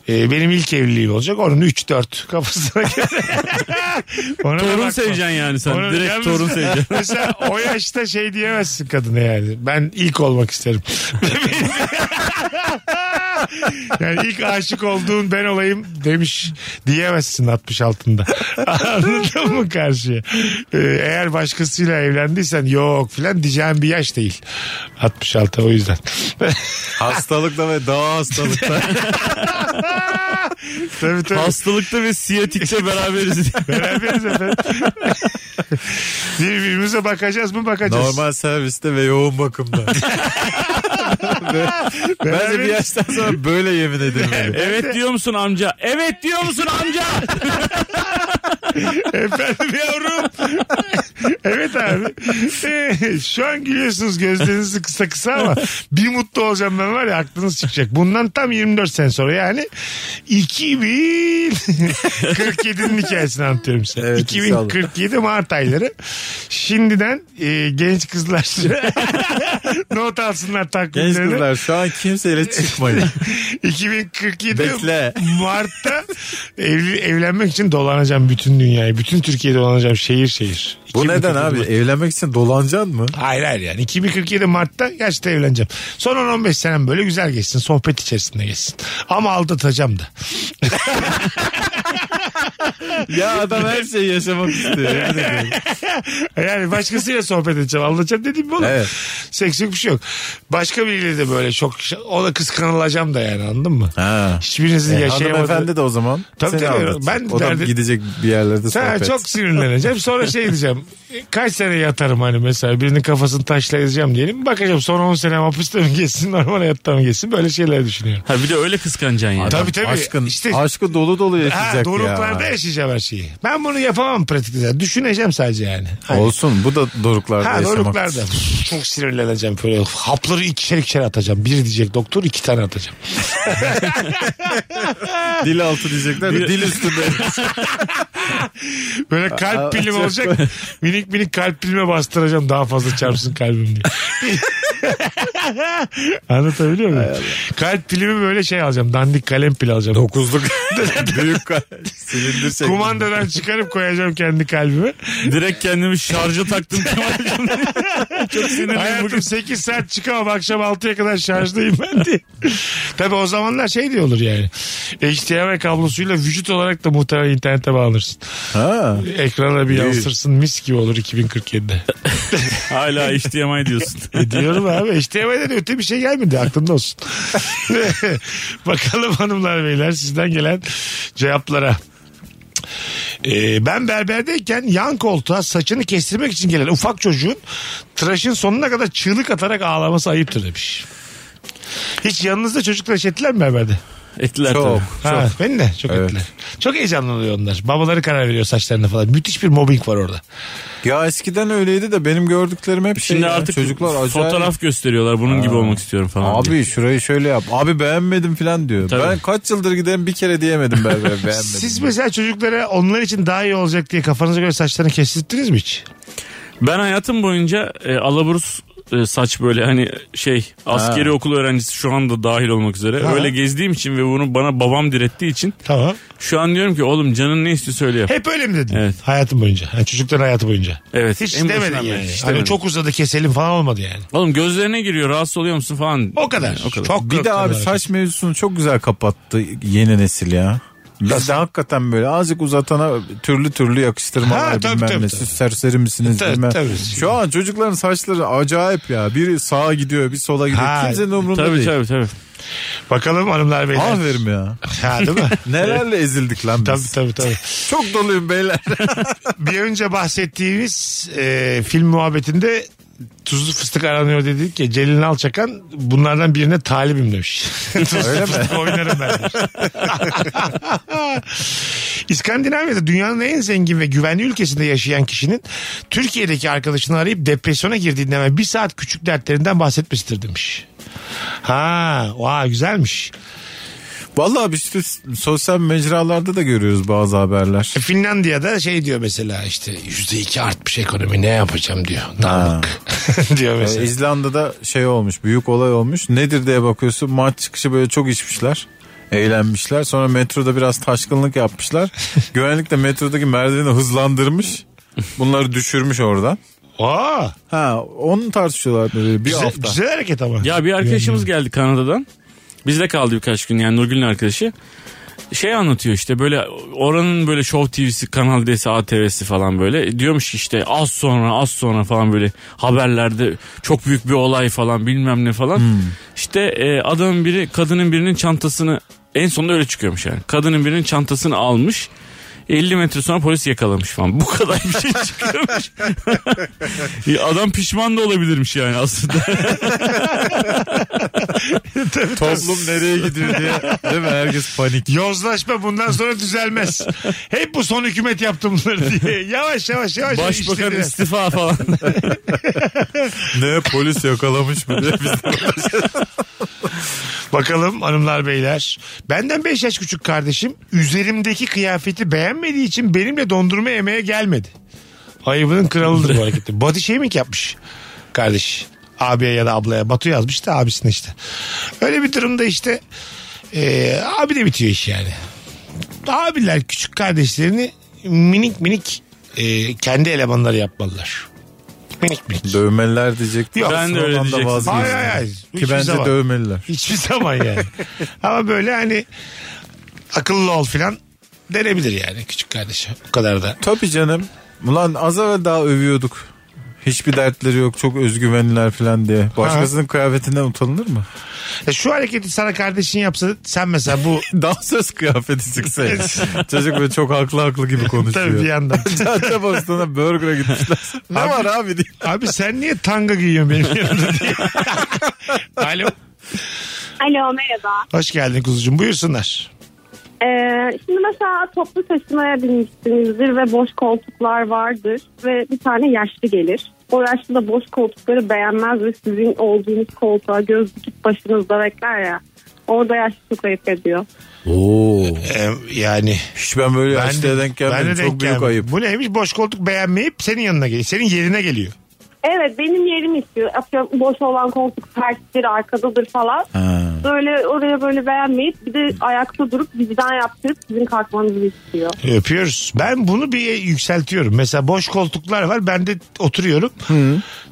[SPEAKER 3] e, benim ilk evliliğim olacak. Onun 3-4 kafasına göre. Ona da
[SPEAKER 5] torun
[SPEAKER 3] bakma.
[SPEAKER 5] seveceksin yani sen.
[SPEAKER 3] Ona-
[SPEAKER 5] Direkt
[SPEAKER 3] yalnız-
[SPEAKER 5] torun seveceksin.
[SPEAKER 3] Mesela o yaşta şey diyemezsin kadına yani. Ben ilk olmak isterim. yani ilk aşık olduğun ben olayım demiş diyemezsin 66'ında. Anladın mı karşıya? Ee, eğer başkasıyla evlendiysen yok filan diyeceğim bir yaş değil. 66 o yüzden.
[SPEAKER 4] Hastalıkta ve daha hastalıkta.
[SPEAKER 3] tabii tabii.
[SPEAKER 5] Hastalıkta ve siyatikte beraberiz.
[SPEAKER 3] Beraberiz efendim. Birbirimize bakacağız mı bakacağız.
[SPEAKER 4] Normal serviste ve yoğun bakımda. Bence bir
[SPEAKER 3] Beraberiz.
[SPEAKER 4] yaştan sonra böyle yemin edilmeli.
[SPEAKER 5] evet diyor musun amca? Evet diyor musun amca?
[SPEAKER 3] Efendim yavrum. evet abi. Ee, şu an gülüyorsunuz gözlerinizi kısa kısa ama bir mutlu olacağım ben var ya aklınız çıkacak. Bundan tam 24 sene sonra yani 2047'nin hikayesini anlatıyorum size.
[SPEAKER 4] Evet,
[SPEAKER 3] 2047 Mart ayları. Şimdiden e, genç kızlar not alsınlar
[SPEAKER 4] Genç
[SPEAKER 3] takvimlerini.
[SPEAKER 4] kızlar şu an kimseyle çıkmayın.
[SPEAKER 3] 2047
[SPEAKER 4] Bekle.
[SPEAKER 3] Mart'ta evli, evlenmek için dolanacağım bütün dünyayı. Bütün Türkiye'yi dolanacağım şehir şehir.
[SPEAKER 4] Bu
[SPEAKER 3] 2047
[SPEAKER 4] neden abi?
[SPEAKER 3] Mart-
[SPEAKER 4] Evlenmek için dolanacaksın mı?
[SPEAKER 3] Hayır hayır yani 2047 Mart'ta yaşta evleneceğim. Son 10-15 senem böyle güzel geçsin. Sohbet içerisinde geçsin. Ama aldatacağım da.
[SPEAKER 4] Ya adam her şeyi yaşamak istiyor. yemin ediyorum.
[SPEAKER 3] Yani başkasıyla sohbet edeceğim. Aldatacağım dediğim bu oğlum.
[SPEAKER 4] Evet.
[SPEAKER 3] Seks yok bir şey yok. Başka biriyle de böyle çok o da kıskanılacağım da yani anladın mı?
[SPEAKER 4] Ha.
[SPEAKER 3] Hiçbirinizin
[SPEAKER 4] E,
[SPEAKER 3] yaşayamadığı.
[SPEAKER 4] hanımefendi de o zaman
[SPEAKER 3] Tabii
[SPEAKER 4] seni
[SPEAKER 3] tabii.
[SPEAKER 4] aldatacak.
[SPEAKER 3] Ben
[SPEAKER 4] o da
[SPEAKER 3] derdim-
[SPEAKER 4] gidecek bir yerlerde
[SPEAKER 3] Ha,
[SPEAKER 4] sohbet.
[SPEAKER 3] çok sinirleneceğim. Sonra şey diyeceğim. E, Kaç sene yatarım hani mesela birinin kafasını taşla ezeceğim diyelim. Bakacağım son 10 sene hapiste mi geçsin normal hayatta mı geçsin böyle şeyler düşünüyorum.
[SPEAKER 5] Ha bir de öyle kıskanacaksın yani.
[SPEAKER 3] Tabii tabii.
[SPEAKER 4] Aşkın,
[SPEAKER 3] İşte-
[SPEAKER 4] aşkı dolu dolu yaşayacak
[SPEAKER 3] Ha,
[SPEAKER 4] ya.
[SPEAKER 3] doruklarda yaşayacağım her şeyi. Ben bunu yapamam pratikte. Düşüneceğim sadece yani. Hani-
[SPEAKER 4] Olsun bu da doruklarda
[SPEAKER 3] Ha
[SPEAKER 4] yaşamak.
[SPEAKER 3] doruklarda. Çok sinirleneceğim böyle. Hapları ikişer ikişer atacağım. Bir diyecek doktor iki tane atacağım.
[SPEAKER 4] Dil altı diyecekler de dil üstünde.
[SPEAKER 3] Böyle kalp
[SPEAKER 4] Aa,
[SPEAKER 3] pilim
[SPEAKER 4] çok
[SPEAKER 3] olacak. minik minik kalp pilime bastıracağım daha fazla çarpsın kalbim diye. Anlatabiliyor muyum? Kalp pilimi böyle şey alacağım. Dandik kalem pil alacağım.
[SPEAKER 4] Dokuzluk. Büyük kalp. Silindir şeklinde.
[SPEAKER 3] Kumandadan çıkarıp koyacağım kendi kalbimi.
[SPEAKER 5] Direkt kendimi şarja taktım Kemal'cim. Çok sinirliyim bugün.
[SPEAKER 3] Hayatım 8 saat çıkamam akşam 6'ya kadar şarjdayım ben diye. Tabi o zamanlar şey diye olur yani. HDMI kablosuyla vücut olarak da muhtemelen internete bağlanırsın.
[SPEAKER 4] Ha.
[SPEAKER 3] Ekrana bir yansırsın mis gibi olur 2047'de.
[SPEAKER 5] Hala HDMI diyorsun.
[SPEAKER 3] E diyorum abi HDMI'den öte bir şey gelmedi aklında olsun. Bakalım hanımlar beyler sizden gelen cevaplara. Ee, ben berberdeyken yan koltuğa saçını kestirmek için gelen ufak çocuğun tıraşın sonuna kadar çığlık atarak ağlaması ayıptır demiş. Hiç yanınızda çocuk tıraş ettiler mi berberde?
[SPEAKER 5] Ettiler
[SPEAKER 4] Çok.
[SPEAKER 5] tabii.
[SPEAKER 3] Ha, beni de çok
[SPEAKER 4] Evet.
[SPEAKER 3] ettiler. Çok heyecanlı oluyor onlar. Babaları karar veriyor saçlarına falan. Müthiş bir mobbing var orada.
[SPEAKER 4] Ya eskiden öyleydi de benim gördüklerim hep şey.
[SPEAKER 5] Şimdi
[SPEAKER 4] ya.
[SPEAKER 5] artık
[SPEAKER 4] çocuklar acayip.
[SPEAKER 5] fotoğraf gösteriyorlar. Bunun gibi olmak istiyorum falan. diye.
[SPEAKER 4] Abi şurayı şöyle yap. Abi beğenmedim falan diyor.
[SPEAKER 5] Tabii.
[SPEAKER 4] Ben kaç yıldır giderim bir kere diyemedim berber beğenmedim.
[SPEAKER 3] Siz mesela çocuklara onlar için daha iyi olacak diye kafanıza göre saçlarını kestirttiniz mi hiç?
[SPEAKER 5] Ben hayatım boyunca e, alaburus e, saç böyle hani şey askeri okul öğrencisi şu anda dahil olmak üzere.
[SPEAKER 3] Ha.
[SPEAKER 5] Öyle gezdiğim için ve bunu bana babam direttiği için
[SPEAKER 3] Tamam.
[SPEAKER 5] şu an diyorum ki oğlum canın ne istiyor söyle yap.
[SPEAKER 3] Hep öyle mi dedin?
[SPEAKER 5] Evet.
[SPEAKER 3] Hayatım boyunca. Yani çocukların hayatı boyunca.
[SPEAKER 5] Evet.
[SPEAKER 3] Hiç
[SPEAKER 5] en
[SPEAKER 3] demedin
[SPEAKER 5] başından
[SPEAKER 3] yani.
[SPEAKER 5] beri, hiç
[SPEAKER 3] Hani
[SPEAKER 5] demedim.
[SPEAKER 3] çok uzadı keselim falan olmadı yani.
[SPEAKER 5] Oğlum gözlerine giriyor rahatsız oluyor musun falan.
[SPEAKER 3] O kadar.
[SPEAKER 5] Yani o kadar.
[SPEAKER 3] Çok
[SPEAKER 4] Bir de abi saç mevzusunu çok güzel kapattı yeni nesil ya. Biz de hakikaten böyle azıcık uzatana türlü türlü yakıştırmalar
[SPEAKER 3] Ha, tabii,
[SPEAKER 4] bilmem
[SPEAKER 3] tabii,
[SPEAKER 4] ne.
[SPEAKER 3] tabii.
[SPEAKER 4] Siz serseri misiniz
[SPEAKER 3] Tabii,
[SPEAKER 4] bilmem.
[SPEAKER 3] tabii.
[SPEAKER 4] Şu an çocukların saçları acayip ya. Biri sağa gidiyor bir sola gidiyor.
[SPEAKER 3] Ha,
[SPEAKER 4] Kimsenin umurunda
[SPEAKER 5] Tabii
[SPEAKER 4] değil.
[SPEAKER 5] tabii tabii.
[SPEAKER 3] Bakalım hanımlar beyler.
[SPEAKER 4] Aferin ya.
[SPEAKER 3] Ha değil mi?
[SPEAKER 4] Nelerle ezildik lan biz.
[SPEAKER 3] tabii tabii tabii.
[SPEAKER 4] Çok doluyum beyler.
[SPEAKER 3] Bir önce bahsettiğimiz e, film muhabbetinde tuzlu fıstık aranıyor dedik ya Celil Alçakan bunlardan birine talibim demiş. tuzlu
[SPEAKER 4] Öyle mi?
[SPEAKER 3] fıstık oynarım ben demiş. İskandinavya'da dünyanın en zengin ve güvenli ülkesinde yaşayan kişinin Türkiye'deki arkadaşını arayıp depresyona girdiğinde hemen bir saat küçük dertlerinden bahsetmiştir demiş. Ha, vay güzelmiş.
[SPEAKER 4] Vallahi biz işte sosyal mecralarda da görüyoruz bazı haberler.
[SPEAKER 3] E, Finlandiya'da şey diyor mesela işte yüzde iki artmış ekonomi ne yapacağım diyor. Dağlık diyor
[SPEAKER 4] Ee,
[SPEAKER 3] mesela.
[SPEAKER 4] İzlanda'da şey olmuş büyük olay olmuş. Nedir diye bakıyorsun maç çıkışı böyle çok içmişler. Eğlenmişler. Sonra metroda biraz taşkınlık yapmışlar. Güvenlik de metrodaki merdiveni hızlandırmış. Bunları düşürmüş oradan.
[SPEAKER 3] Aa,
[SPEAKER 4] Ha onu tartışıyorlar böyle bir
[SPEAKER 3] güzel,
[SPEAKER 4] hafta.
[SPEAKER 3] güzel hareket ama.
[SPEAKER 5] Ya bir arkadaşımız geldi Kanada'dan. Bizde kaldı birkaç gün yani Nurgül'ün arkadaşı. Şey anlatıyor işte böyle oranın böyle Show TV'si, Kanal D'si, ATV'si falan böyle. Diyormuş ki işte az sonra az sonra falan böyle haberlerde çok büyük bir olay falan bilmem ne falan. İşte e, adamın biri kadının birinin çantasını en sonunda öyle çıkıyormuş yani. Kadının birinin çantasını almış. 50 metre sonra polis yakalamış falan. Bu kadar bir şey çıkıyormuş. Ya Adam pişman da olabilirmiş yani aslında.
[SPEAKER 4] Toplum nereye gidiyor diye değil mi? Herkes panik.
[SPEAKER 3] Yozlaşma bundan sonra düzelmez. Hep bu son hükümet yaptı bunları diye. Yavaş yavaş yavaş.
[SPEAKER 5] Başbakan
[SPEAKER 3] işlediler.
[SPEAKER 5] istifa falan.
[SPEAKER 4] Ne polis yakalamış mı diye şey. biz
[SPEAKER 3] Bakalım hanımlar beyler. Benden 5 yaş küçük kardeşim üzerimdeki kıyafeti beğenmediği için benimle dondurma yemeye gelmedi. Ayıbının kralıdır bu hareketi. Body shaming yapmış kardeş. Abiye ya da ablaya. Batu yazmış da abisine işte. Öyle bir durumda işte e, abi de bitiyor iş yani. Abiler küçük kardeşlerini minik minik e, kendi elemanları yapmalılar. Minik minik.
[SPEAKER 4] Dövmeliler diyecek.
[SPEAKER 3] Yok.
[SPEAKER 5] Ben de öyle
[SPEAKER 4] Sonradan da
[SPEAKER 5] diyeceksin.
[SPEAKER 4] vazgeçtim.
[SPEAKER 3] Hayır, hayır, hayır. Hiçbir
[SPEAKER 4] Ki bence
[SPEAKER 3] zaman.
[SPEAKER 4] dövmeliler.
[SPEAKER 3] Hiçbir zaman yani. Ama böyle hani akıllı ol filan denebilir yani küçük kardeşim. Bu kadar da.
[SPEAKER 4] Tabii canım. Ulan az evvel daha övüyorduk. Hiçbir dertleri yok çok özgüvenliler falan diye. Başkasının kıyafetinden utanılır mı?
[SPEAKER 3] E şu hareketi sana kardeşin yapsa sen mesela bu
[SPEAKER 4] Dansöz kıyafeti çıksa. ya. Çocuk böyle çok haklı haklı gibi konuşuyor.
[SPEAKER 3] tabii bir yandan.
[SPEAKER 4] Cadde Bostan'a burger'a gitmişler. ne
[SPEAKER 3] Abi-
[SPEAKER 4] var abi diye.
[SPEAKER 3] Abi sen niye tanga giyiyorsun benim yanımda diye. Alo.
[SPEAKER 6] Alo merhaba.
[SPEAKER 3] Hoş geldin kuzucuğum. Buyursunlar.
[SPEAKER 6] Ee, şimdi mesela toplu taşımaya binmişsinizdir ve boş koltuklar vardır ve bir tane yaşlı gelir. O yaşlı da boş koltukları beğenmez ve sizin olduğunuz koltuğa göz dikip başınızda bekler ya. Orada yaşlı çok ayıp ediyor.
[SPEAKER 4] Oo.
[SPEAKER 3] Ee, yani
[SPEAKER 4] Hiç ben böyle
[SPEAKER 3] ben
[SPEAKER 4] yaşlıya denk gelmedim.
[SPEAKER 3] ben de denk
[SPEAKER 4] çok büyük
[SPEAKER 3] gelmedim.
[SPEAKER 4] ayıp.
[SPEAKER 3] Bu neymiş? Boş koltuk beğenmeyip senin yanına geliyor. Senin yerine geliyor.
[SPEAKER 6] Evet benim yerim istiyor. Atıyorum boş olan koltuk terttir, arkadadır falan.
[SPEAKER 4] Ha.
[SPEAKER 6] Böyle oraya böyle beğenmeyip bir de ayakta durup vicdan yaptırıp sizin kalkmanızı istiyor.
[SPEAKER 3] Öpüyoruz. Ben bunu bir yükseltiyorum. Mesela boş koltuklar var. Ben de oturuyorum.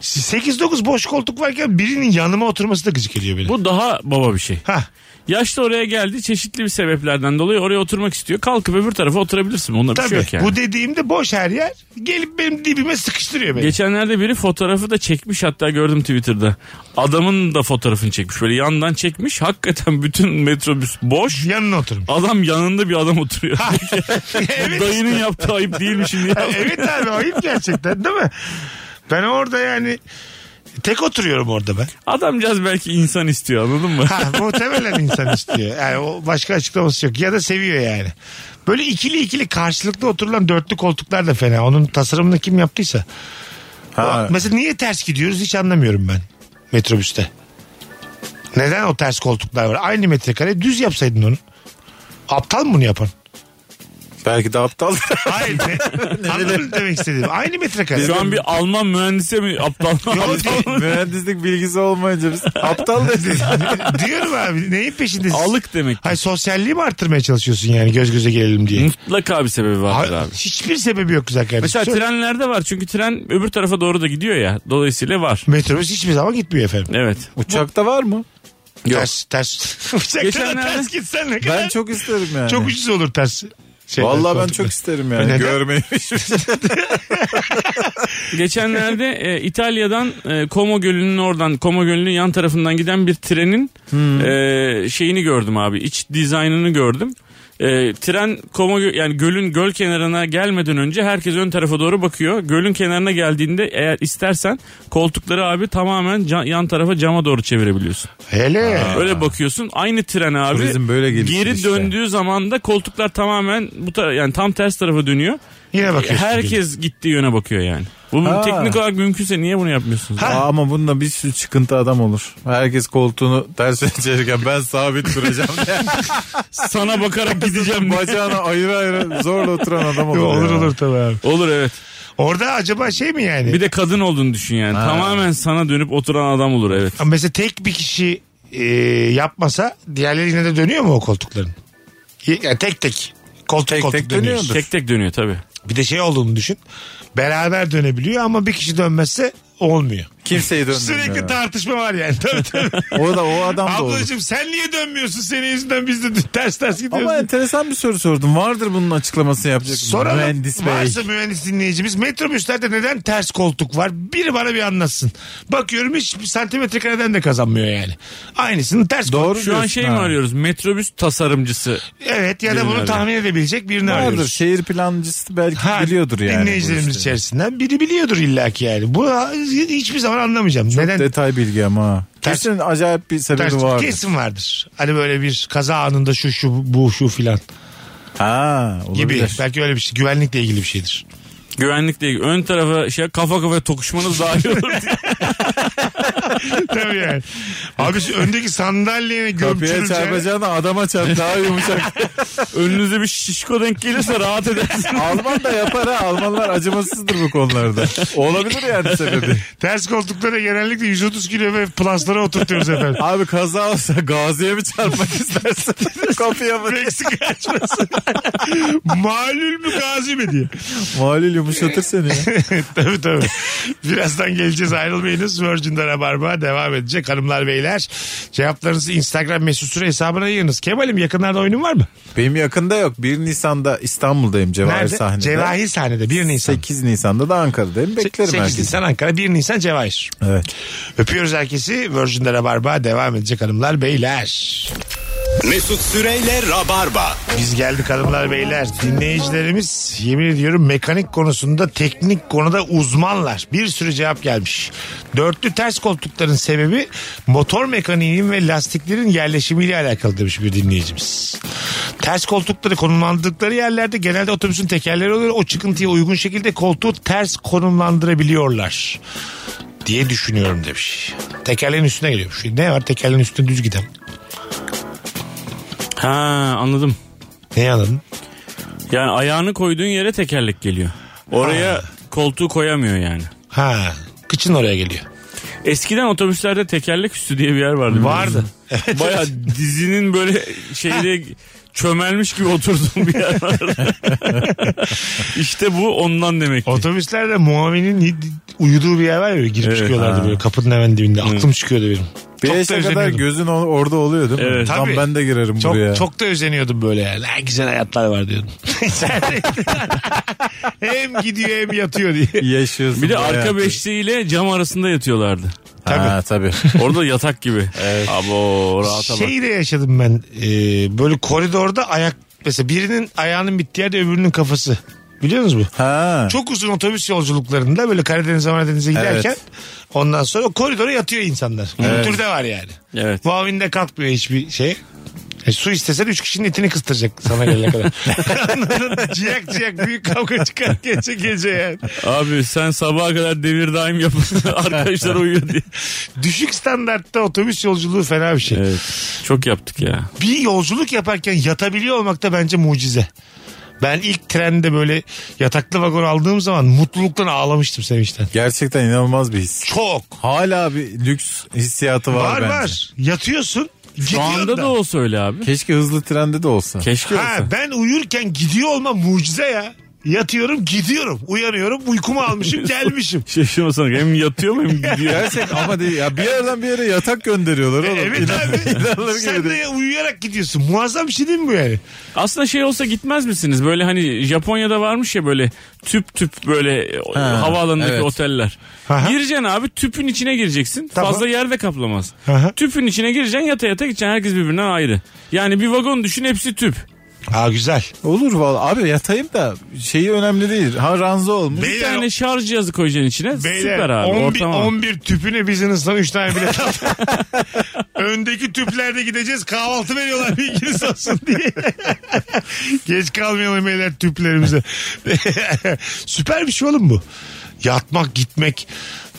[SPEAKER 3] 8-9 boş koltuk varken birinin yanıma oturması da gıcık geliyor beni.
[SPEAKER 5] Bu daha baba bir şey.
[SPEAKER 3] Hah.
[SPEAKER 5] Yaşlı oraya geldi çeşitli bir sebeplerden dolayı oraya oturmak istiyor. Kalkıp öbür tarafa oturabilirsin. Onda bir
[SPEAKER 3] Tabii.
[SPEAKER 5] şey yok yani.
[SPEAKER 3] Bu dediğimde boş her yer. Gelip benim dibime sıkıştırıyor beni.
[SPEAKER 5] Geçenlerde biri fotoğrafı da çekmiş hatta gördüm Twitter'da. Adamın da fotoğrafını çekmiş. Böyle yandan çekmiş. Hakikaten bütün metrobüs boş.
[SPEAKER 3] Yanına oturmuş.
[SPEAKER 5] Adam yanında bir adam oturuyor.
[SPEAKER 3] evet.
[SPEAKER 5] Dayının yaptığı ayıp değil mi şimdi? ya?
[SPEAKER 3] evet abi ayıp gerçekten değil mi? Ben orada yani tek oturuyorum orada ben.
[SPEAKER 5] Adamcağız belki insan istiyor anladın mı?
[SPEAKER 3] Ha, muhtemelen insan istiyor. Yani o başka açıklaması yok. Ya da seviyor yani. Böyle ikili ikili karşılıklı oturulan dörtlü koltuklar da fena. Onun tasarımını kim yaptıysa.
[SPEAKER 4] Ha.
[SPEAKER 3] Mesela niye ters gidiyoruz hiç anlamıyorum ben metrobüste. Neden o ters koltuklar var? Aynı metrekare düz yapsaydın onu. Aptal mı bunu yapan?
[SPEAKER 4] Belki de aptal.
[SPEAKER 3] Hayır. Ne, anladın mı demek istediğim? Aynı metrekare.
[SPEAKER 5] Şu an bir Alman mühendise mi aptal Aptal-
[SPEAKER 4] Mühendislik bilgisi olmayınca biz aptal dedik.
[SPEAKER 3] Diyorum abi neyin peşindesin?
[SPEAKER 5] Alık demek.
[SPEAKER 3] Hayır sosyalliği mi arttırmaya çalışıyorsun yani göz göze gelelim diye?
[SPEAKER 5] Mutlaka bir sebebi vardır
[SPEAKER 3] Hayır,
[SPEAKER 5] abi.
[SPEAKER 3] hiçbir sebebi yok güzel kardeşim.
[SPEAKER 5] Mesela
[SPEAKER 3] Sor-
[SPEAKER 5] trenlerde var çünkü tren öbür tarafa doğru da gidiyor ya. Dolayısıyla var.
[SPEAKER 3] Metrobüs hiçbir zaman gitmiyor efendim.
[SPEAKER 5] Evet.
[SPEAKER 4] Uçakta var mı?
[SPEAKER 3] Ters, ters. Uçakta da
[SPEAKER 5] Geçenlerde-
[SPEAKER 3] ters gitsen ne kadar
[SPEAKER 4] Ben çok isterim yani.
[SPEAKER 3] çok ucuz olur ters. şeyler,
[SPEAKER 4] Vallahi ben
[SPEAKER 3] koltuklar. E
[SPEAKER 4] çok isterim yani.
[SPEAKER 3] Neden?
[SPEAKER 4] Görmeyi.
[SPEAKER 5] Geçenlerde e, İtalya'dan e, Como Gölü'nün oradan Como Gölü'nün yan tarafından giden bir trenin e, şeyini gördüm abi. İç dizaynını gördüm. E, tren Como Gö- yani gölün göl kenarına gelmeden önce herkes ön tarafa doğru bakıyor. Gölün kenarına geldiğinde eğer istersen koltukları abi tamamen ca- yan tarafa cama doğru çevirebiliyorsun.
[SPEAKER 3] Hele.
[SPEAKER 5] Öyle bakıyorsun. Aynı tren abi.
[SPEAKER 4] Turizm böyle gelişir
[SPEAKER 5] Geri
[SPEAKER 4] işte.
[SPEAKER 5] döndüğü zaman da koltuklar tamamen bu tara- yani tam ters tarafa dönüyor. E,
[SPEAKER 3] Yine bakıyorsun.
[SPEAKER 5] Herkes gittiği yöne bakıyor yani. Bu
[SPEAKER 4] Ha.
[SPEAKER 5] teknik olarak mümkünse niye bunu yapmıyorsunuz?
[SPEAKER 4] Aa, ama bununla bir sürü çıkıntı adam olur. Herkes koltuğunu ters çevirirken ben sabit duracağım diye.
[SPEAKER 5] Sana bakarak gideceğim.
[SPEAKER 4] Bacağına ayrı ayrı zorla oturan adam olur.
[SPEAKER 3] Yo, Olur
[SPEAKER 4] ya.
[SPEAKER 3] olur tabii abi.
[SPEAKER 5] Olur evet.
[SPEAKER 3] Orada acaba şey mi yani?
[SPEAKER 5] Bir de kadın olduğunu düşün yani. Tamamen sana dönüp oturan adam olur evet.
[SPEAKER 3] Ama Mesela tek bir kişi e, yapmasa diğerleri yine de dönüyor mu o koltukların? Y- Yani tek tek. Koltuk
[SPEAKER 4] Tek
[SPEAKER 3] koltuk
[SPEAKER 4] tek
[SPEAKER 3] dönüyoruz.
[SPEAKER 4] dönüyordur.
[SPEAKER 5] Tek tek dönüyor tabii.
[SPEAKER 3] Bir de şey olduğunu düşün. Beraber dönebiliyor ama bir kişi dönmezse olmuyor.
[SPEAKER 4] Kimseyi döndürmüyor.
[SPEAKER 3] Sürekli
[SPEAKER 4] Sürekli
[SPEAKER 3] tartışma var yani. Tabii tabii.
[SPEAKER 4] Orada o adam da olur.
[SPEAKER 3] Ablacığım sen niye dönmüyorsun? Senin yüzünden biz de ters ters gidiyoruz.
[SPEAKER 4] Ama enteresan bir soru sordum. Vardır bunun açıklamasını yapacak.
[SPEAKER 3] Soralım.
[SPEAKER 4] Mühendis bey.
[SPEAKER 3] Varsa mühendis dinleyicimiz metrobüslerde neden ters koltuk var? Biri bana bir anlatsın. Bakıyorum hiç santimetre kareden de kazanmıyor yani. Aynısını ters
[SPEAKER 4] Doğru
[SPEAKER 3] koltuk.
[SPEAKER 5] Şu an
[SPEAKER 4] diyorsun
[SPEAKER 5] şey
[SPEAKER 4] ha.
[SPEAKER 5] mi arıyoruz? Metrobüs tasarımcısı.
[SPEAKER 3] Evet ya da bunu
[SPEAKER 5] Birini
[SPEAKER 3] tahmin edebilecek birini
[SPEAKER 4] Vardır.
[SPEAKER 3] arıyoruz.
[SPEAKER 4] Şehir plancısı belki
[SPEAKER 3] Ha,
[SPEAKER 4] biliyordur yani.
[SPEAKER 3] Dinleyicilerimiz
[SPEAKER 4] bu işleri.
[SPEAKER 3] içerisinden biri biliyordur illaki yani. Bu hiçbir zaman anlamayacağım. Neden
[SPEAKER 4] Detay bilgi ama. ha.
[SPEAKER 3] Ters-
[SPEAKER 4] Kesin acayip bir
[SPEAKER 3] ters
[SPEAKER 4] sebebi vardır.
[SPEAKER 3] kesin vardır. Hani böyle bir kaza anında şu şu bu şu filan
[SPEAKER 4] Ha, olabilir.
[SPEAKER 3] gibi. Belki öyle bir şey. Güvenlikle ilgili bir şeydir.
[SPEAKER 5] Güvenlik değil. Ön tarafa şey kafa kafaya tokuşmanız daha iyi olur.
[SPEAKER 3] Tabii yani. Abi şu öndeki sandalyene
[SPEAKER 4] Kapıya
[SPEAKER 3] gömçürülce.
[SPEAKER 4] çarpacağına adama çarp daha yumuşak.
[SPEAKER 5] Önünüze bir şişko denk gelirse rahat edersiniz.
[SPEAKER 4] Alman da yapar ha. Almanlar acımasızdır bu konularda. Olabilir yani sebebi.
[SPEAKER 3] Ters koltuklara genellikle 130 kilo ve pluslara oturtuyoruz efendim.
[SPEAKER 4] Abi kaza olsa gaziye mi çarpmak istersin? Kapıya mı?
[SPEAKER 3] Meksika açması. Malul mü gazi mi diye.
[SPEAKER 4] Malil yumuşatır seni ya.
[SPEAKER 3] tabii tabii. Birazdan geleceğiz ayrılmayınız. Virgin'de Rabarba devam edecek hanımlar beyler. Cevaplarınızı Instagram mesut süre hesabına yığınız. Kemal'im yakınlarda oyunun var mı?
[SPEAKER 4] Benim yakında yok. 1 Nisan'da İstanbul'dayım Cevahir
[SPEAKER 3] Nerede?
[SPEAKER 4] sahnede.
[SPEAKER 3] Cevahir sahnede 1 Nisan.
[SPEAKER 4] 8 Nisan'da da Ankara'dayım. Beklerim
[SPEAKER 3] 8
[SPEAKER 4] herkesi.
[SPEAKER 3] Nisan Ankara 1 Nisan Cevahir.
[SPEAKER 4] Evet.
[SPEAKER 3] Öpüyoruz herkesi. Virgin'de Rabarba devam edecek hanımlar beyler.
[SPEAKER 2] Mesut Süreyle Rabarba.
[SPEAKER 3] Biz geldik hanımlar beyler. Dinleyicilerimiz yemin ediyorum mekanik konusunda teknik konuda uzmanlar. Bir sürü cevap gelmiş. Dörtlü ters koltukların sebebi motor mekaniğinin ve lastiklerin yerleşimiyle alakalı demiş bir dinleyicimiz. Ters koltukları konumlandıkları yerlerde genelde otobüsün tekerleri oluyor. O çıkıntıya uygun şekilde koltuğu ters konumlandırabiliyorlar diye düşünüyorum demiş. Tekerleğin üstüne geliyormuş. Ne var tekerleğin üstüne düz giden?
[SPEAKER 5] Ha anladım.
[SPEAKER 3] Ne anladın?
[SPEAKER 5] Yani ayağını koyduğun yere tekerlek geliyor. Oraya koltuğu koyamıyor yani.
[SPEAKER 3] Ha Kıçın oraya geliyor.
[SPEAKER 5] Eskiden otobüslerde tekerlek üstü diye bir yer vardı.
[SPEAKER 3] Vardı.
[SPEAKER 5] Baya dizinin böyle şeyde çömelmiş gibi oturduğum bir yer vardı. işte bu ondan demek ki.
[SPEAKER 3] Otobüslerde muavinin uyuduğu bir yer var ya böyle girip
[SPEAKER 5] Evet,
[SPEAKER 3] çıkıyorlardı
[SPEAKER 5] ha.
[SPEAKER 3] böyle kapının hemen dibinde. Aklım çıkıyordu benim.
[SPEAKER 4] Bir
[SPEAKER 3] Çok da
[SPEAKER 4] yaşa kadar
[SPEAKER 3] özeniyordum.
[SPEAKER 4] gözün o- orada oluyor değil mi?
[SPEAKER 5] Evet.
[SPEAKER 4] Tam
[SPEAKER 3] Tabii.
[SPEAKER 4] ben de girerim
[SPEAKER 3] Çok
[SPEAKER 4] buraya.
[SPEAKER 3] çok da özeniyordum böyle yani. Ne güzel hayatlar var diyordum. hem gidiyor hem yatıyor diye.
[SPEAKER 4] yaşıyorsun.
[SPEAKER 5] Bir de
[SPEAKER 4] bu
[SPEAKER 5] arka
[SPEAKER 4] hayatı.
[SPEAKER 5] beşliğiyle cam arasında yatıyorlardı.
[SPEAKER 4] Ha tabii.
[SPEAKER 5] Orada yatak gibi. Abo rahata bak.
[SPEAKER 3] Şeyi de yaşadım ben. Ee, böyle koridorda ayak mesela birinin ayağının bittiği yerde öbürünün kafası. Biliyor musunuz bu?
[SPEAKER 4] Ha.
[SPEAKER 3] Çok uzun otobüs yolculuklarında böyle Karadeniz'e Maradeniz'e giderken
[SPEAKER 4] Evet.
[SPEAKER 3] ondan sonra koridora yatıyor insanlar. Bu türde var yani.
[SPEAKER 5] Evet.
[SPEAKER 3] Muavin de kalkmıyor hiçbir şey. E, su istesen üç kişinin etini kıstıracak sana gelene kadar. Onların ciyak ciyak büyük kavga çıkar gece gece yani.
[SPEAKER 5] Abi sen sabaha kadar devir daim yapın. Arkadaşlar uyuyor diye.
[SPEAKER 3] Düşük standartta otobüs yolculuğu fena bir şey.
[SPEAKER 5] Evet. Çok yaptık ya.
[SPEAKER 3] Bir yolculuk yaparken yatabiliyor olmak da bence mucize. Ben ilk trende böyle yataklı vagon aldığım zaman mutluluktan ağlamıştım sevinçten.
[SPEAKER 4] Gerçekten inanılmaz bir his.
[SPEAKER 3] Çok.
[SPEAKER 4] Hala bir lüks hissiyatı var,
[SPEAKER 3] Var
[SPEAKER 4] bence.
[SPEAKER 3] var. Yatıyorsun.
[SPEAKER 5] Şu
[SPEAKER 3] gidiyorsun
[SPEAKER 5] anda da olsa öyle abi.
[SPEAKER 4] Keşke hızlı trende de olsa.
[SPEAKER 5] Keşke olsa.
[SPEAKER 3] Ha, ben uyurken gidiyor olma mucize ya. Yatıyorum gidiyorum. Uyanıyorum uykumu almışım gelmişim.
[SPEAKER 5] Şaşırma sana. Hem yatıyor mu hem gidiyor.
[SPEAKER 4] Gerçek ama değil. Ya bir yerden bir yere yatak gönderiyorlar oğlum.
[SPEAKER 3] Evet
[SPEAKER 4] İnan-
[SPEAKER 3] abi.
[SPEAKER 4] inanılır
[SPEAKER 3] Sen
[SPEAKER 4] gibi değil.
[SPEAKER 3] de uyuyarak gidiyorsun. Muazzam bir şey değil mi bu yani?
[SPEAKER 5] Aslında şey olsa gitmez misiniz? Böyle hani Japonya'da varmış ya böyle tüp tüp böyle o-
[SPEAKER 4] Ha,
[SPEAKER 5] havaalanındaki
[SPEAKER 4] evet.
[SPEAKER 5] oteller.
[SPEAKER 3] Aha.
[SPEAKER 5] Gireceksin abi tüpün içine gireceksin.
[SPEAKER 3] Tamam.
[SPEAKER 5] Fazla yer de kaplamaz.
[SPEAKER 3] Aha.
[SPEAKER 5] Tüpün içine gireceksin yata yata gideceksin. Herkes birbirinden ayrı. Yani bir vagon düşün hepsi tüp.
[SPEAKER 3] Aa güzel.
[SPEAKER 4] Olur valla. Abi yatayım da şeyi önemli değil. Ha ranza olmuş.
[SPEAKER 5] Bir
[SPEAKER 3] Beyler-
[SPEAKER 5] tane şarj cihazı koyacaksın içine.
[SPEAKER 3] Beyler
[SPEAKER 5] Süper abi.
[SPEAKER 3] 11,
[SPEAKER 5] Ortam abi.
[SPEAKER 3] 11 tüpüne biz insan 3 tane bilet aldık. Öndeki tüplerde gideceğiz kahvaltı veriyorlar bilginiz olsun diye. Geç kalmayalım beyler tüplerimize. Süper bir şey oğlum bu. Yatmak gitmek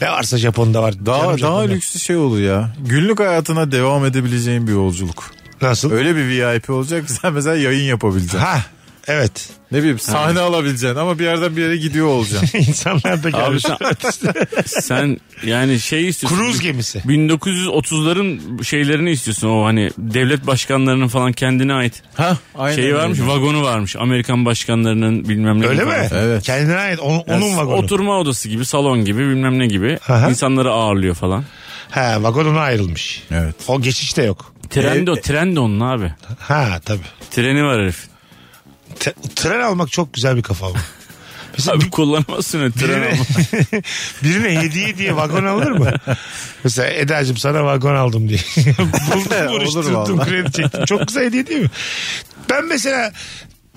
[SPEAKER 3] ne varsa Japon'da var.
[SPEAKER 4] Daha
[SPEAKER 3] Canım
[SPEAKER 4] daha
[SPEAKER 3] Japon'da.
[SPEAKER 4] lüksü şey olur ya. Günlük hayatına devam edebileceğin bir yolculuk.
[SPEAKER 3] Nasıl?
[SPEAKER 4] Öyle bir VIP olacak ki sen mesela yayın yapabileceksin.
[SPEAKER 3] Ha evet.
[SPEAKER 4] Ne bileyim sahne alabileceksin ama bir yerden bir yere gidiyor olacaksın.
[SPEAKER 3] İnsanlar da
[SPEAKER 5] Abi
[SPEAKER 3] gelmiş.
[SPEAKER 5] sen, sen yani şey istiyorsun.
[SPEAKER 3] Cruise gemisi.
[SPEAKER 5] 1930'ların şeylerini istiyorsun o hani devlet başkanlarının falan kendine ait
[SPEAKER 4] ha, aynen
[SPEAKER 5] şeyi şey varmış
[SPEAKER 4] öyle.
[SPEAKER 5] vagonu varmış Amerikan başkanlarının bilmem ne.
[SPEAKER 3] Öyle
[SPEAKER 5] gibi.
[SPEAKER 3] mi?
[SPEAKER 4] Evet.
[SPEAKER 3] Kendine ait on- onun vagonu.
[SPEAKER 5] Oturma odası gibi salon gibi bilmem ne gibi
[SPEAKER 3] Aha.
[SPEAKER 5] insanları ağırlıyor falan.
[SPEAKER 3] Ha vagonuna ayrılmış.
[SPEAKER 4] Evet.
[SPEAKER 3] O geçiş de yok.
[SPEAKER 5] Tren
[SPEAKER 3] e.
[SPEAKER 5] de, tren de onun abi.
[SPEAKER 3] Ha tabii.
[SPEAKER 5] Treni var herif.
[SPEAKER 3] T- tren almak çok güzel bir kafa bu. Mesela
[SPEAKER 5] Abi kullanamazsın öyle tren
[SPEAKER 3] birine,
[SPEAKER 5] ama.
[SPEAKER 3] birine hediye diye vagon alır mı? Mesela Eda'cığım sana vagon aldım diye. Buldum buruşturdum
[SPEAKER 4] vallahi.
[SPEAKER 3] kredi çektim. Çok güzel hediye değil mi? Ben mesela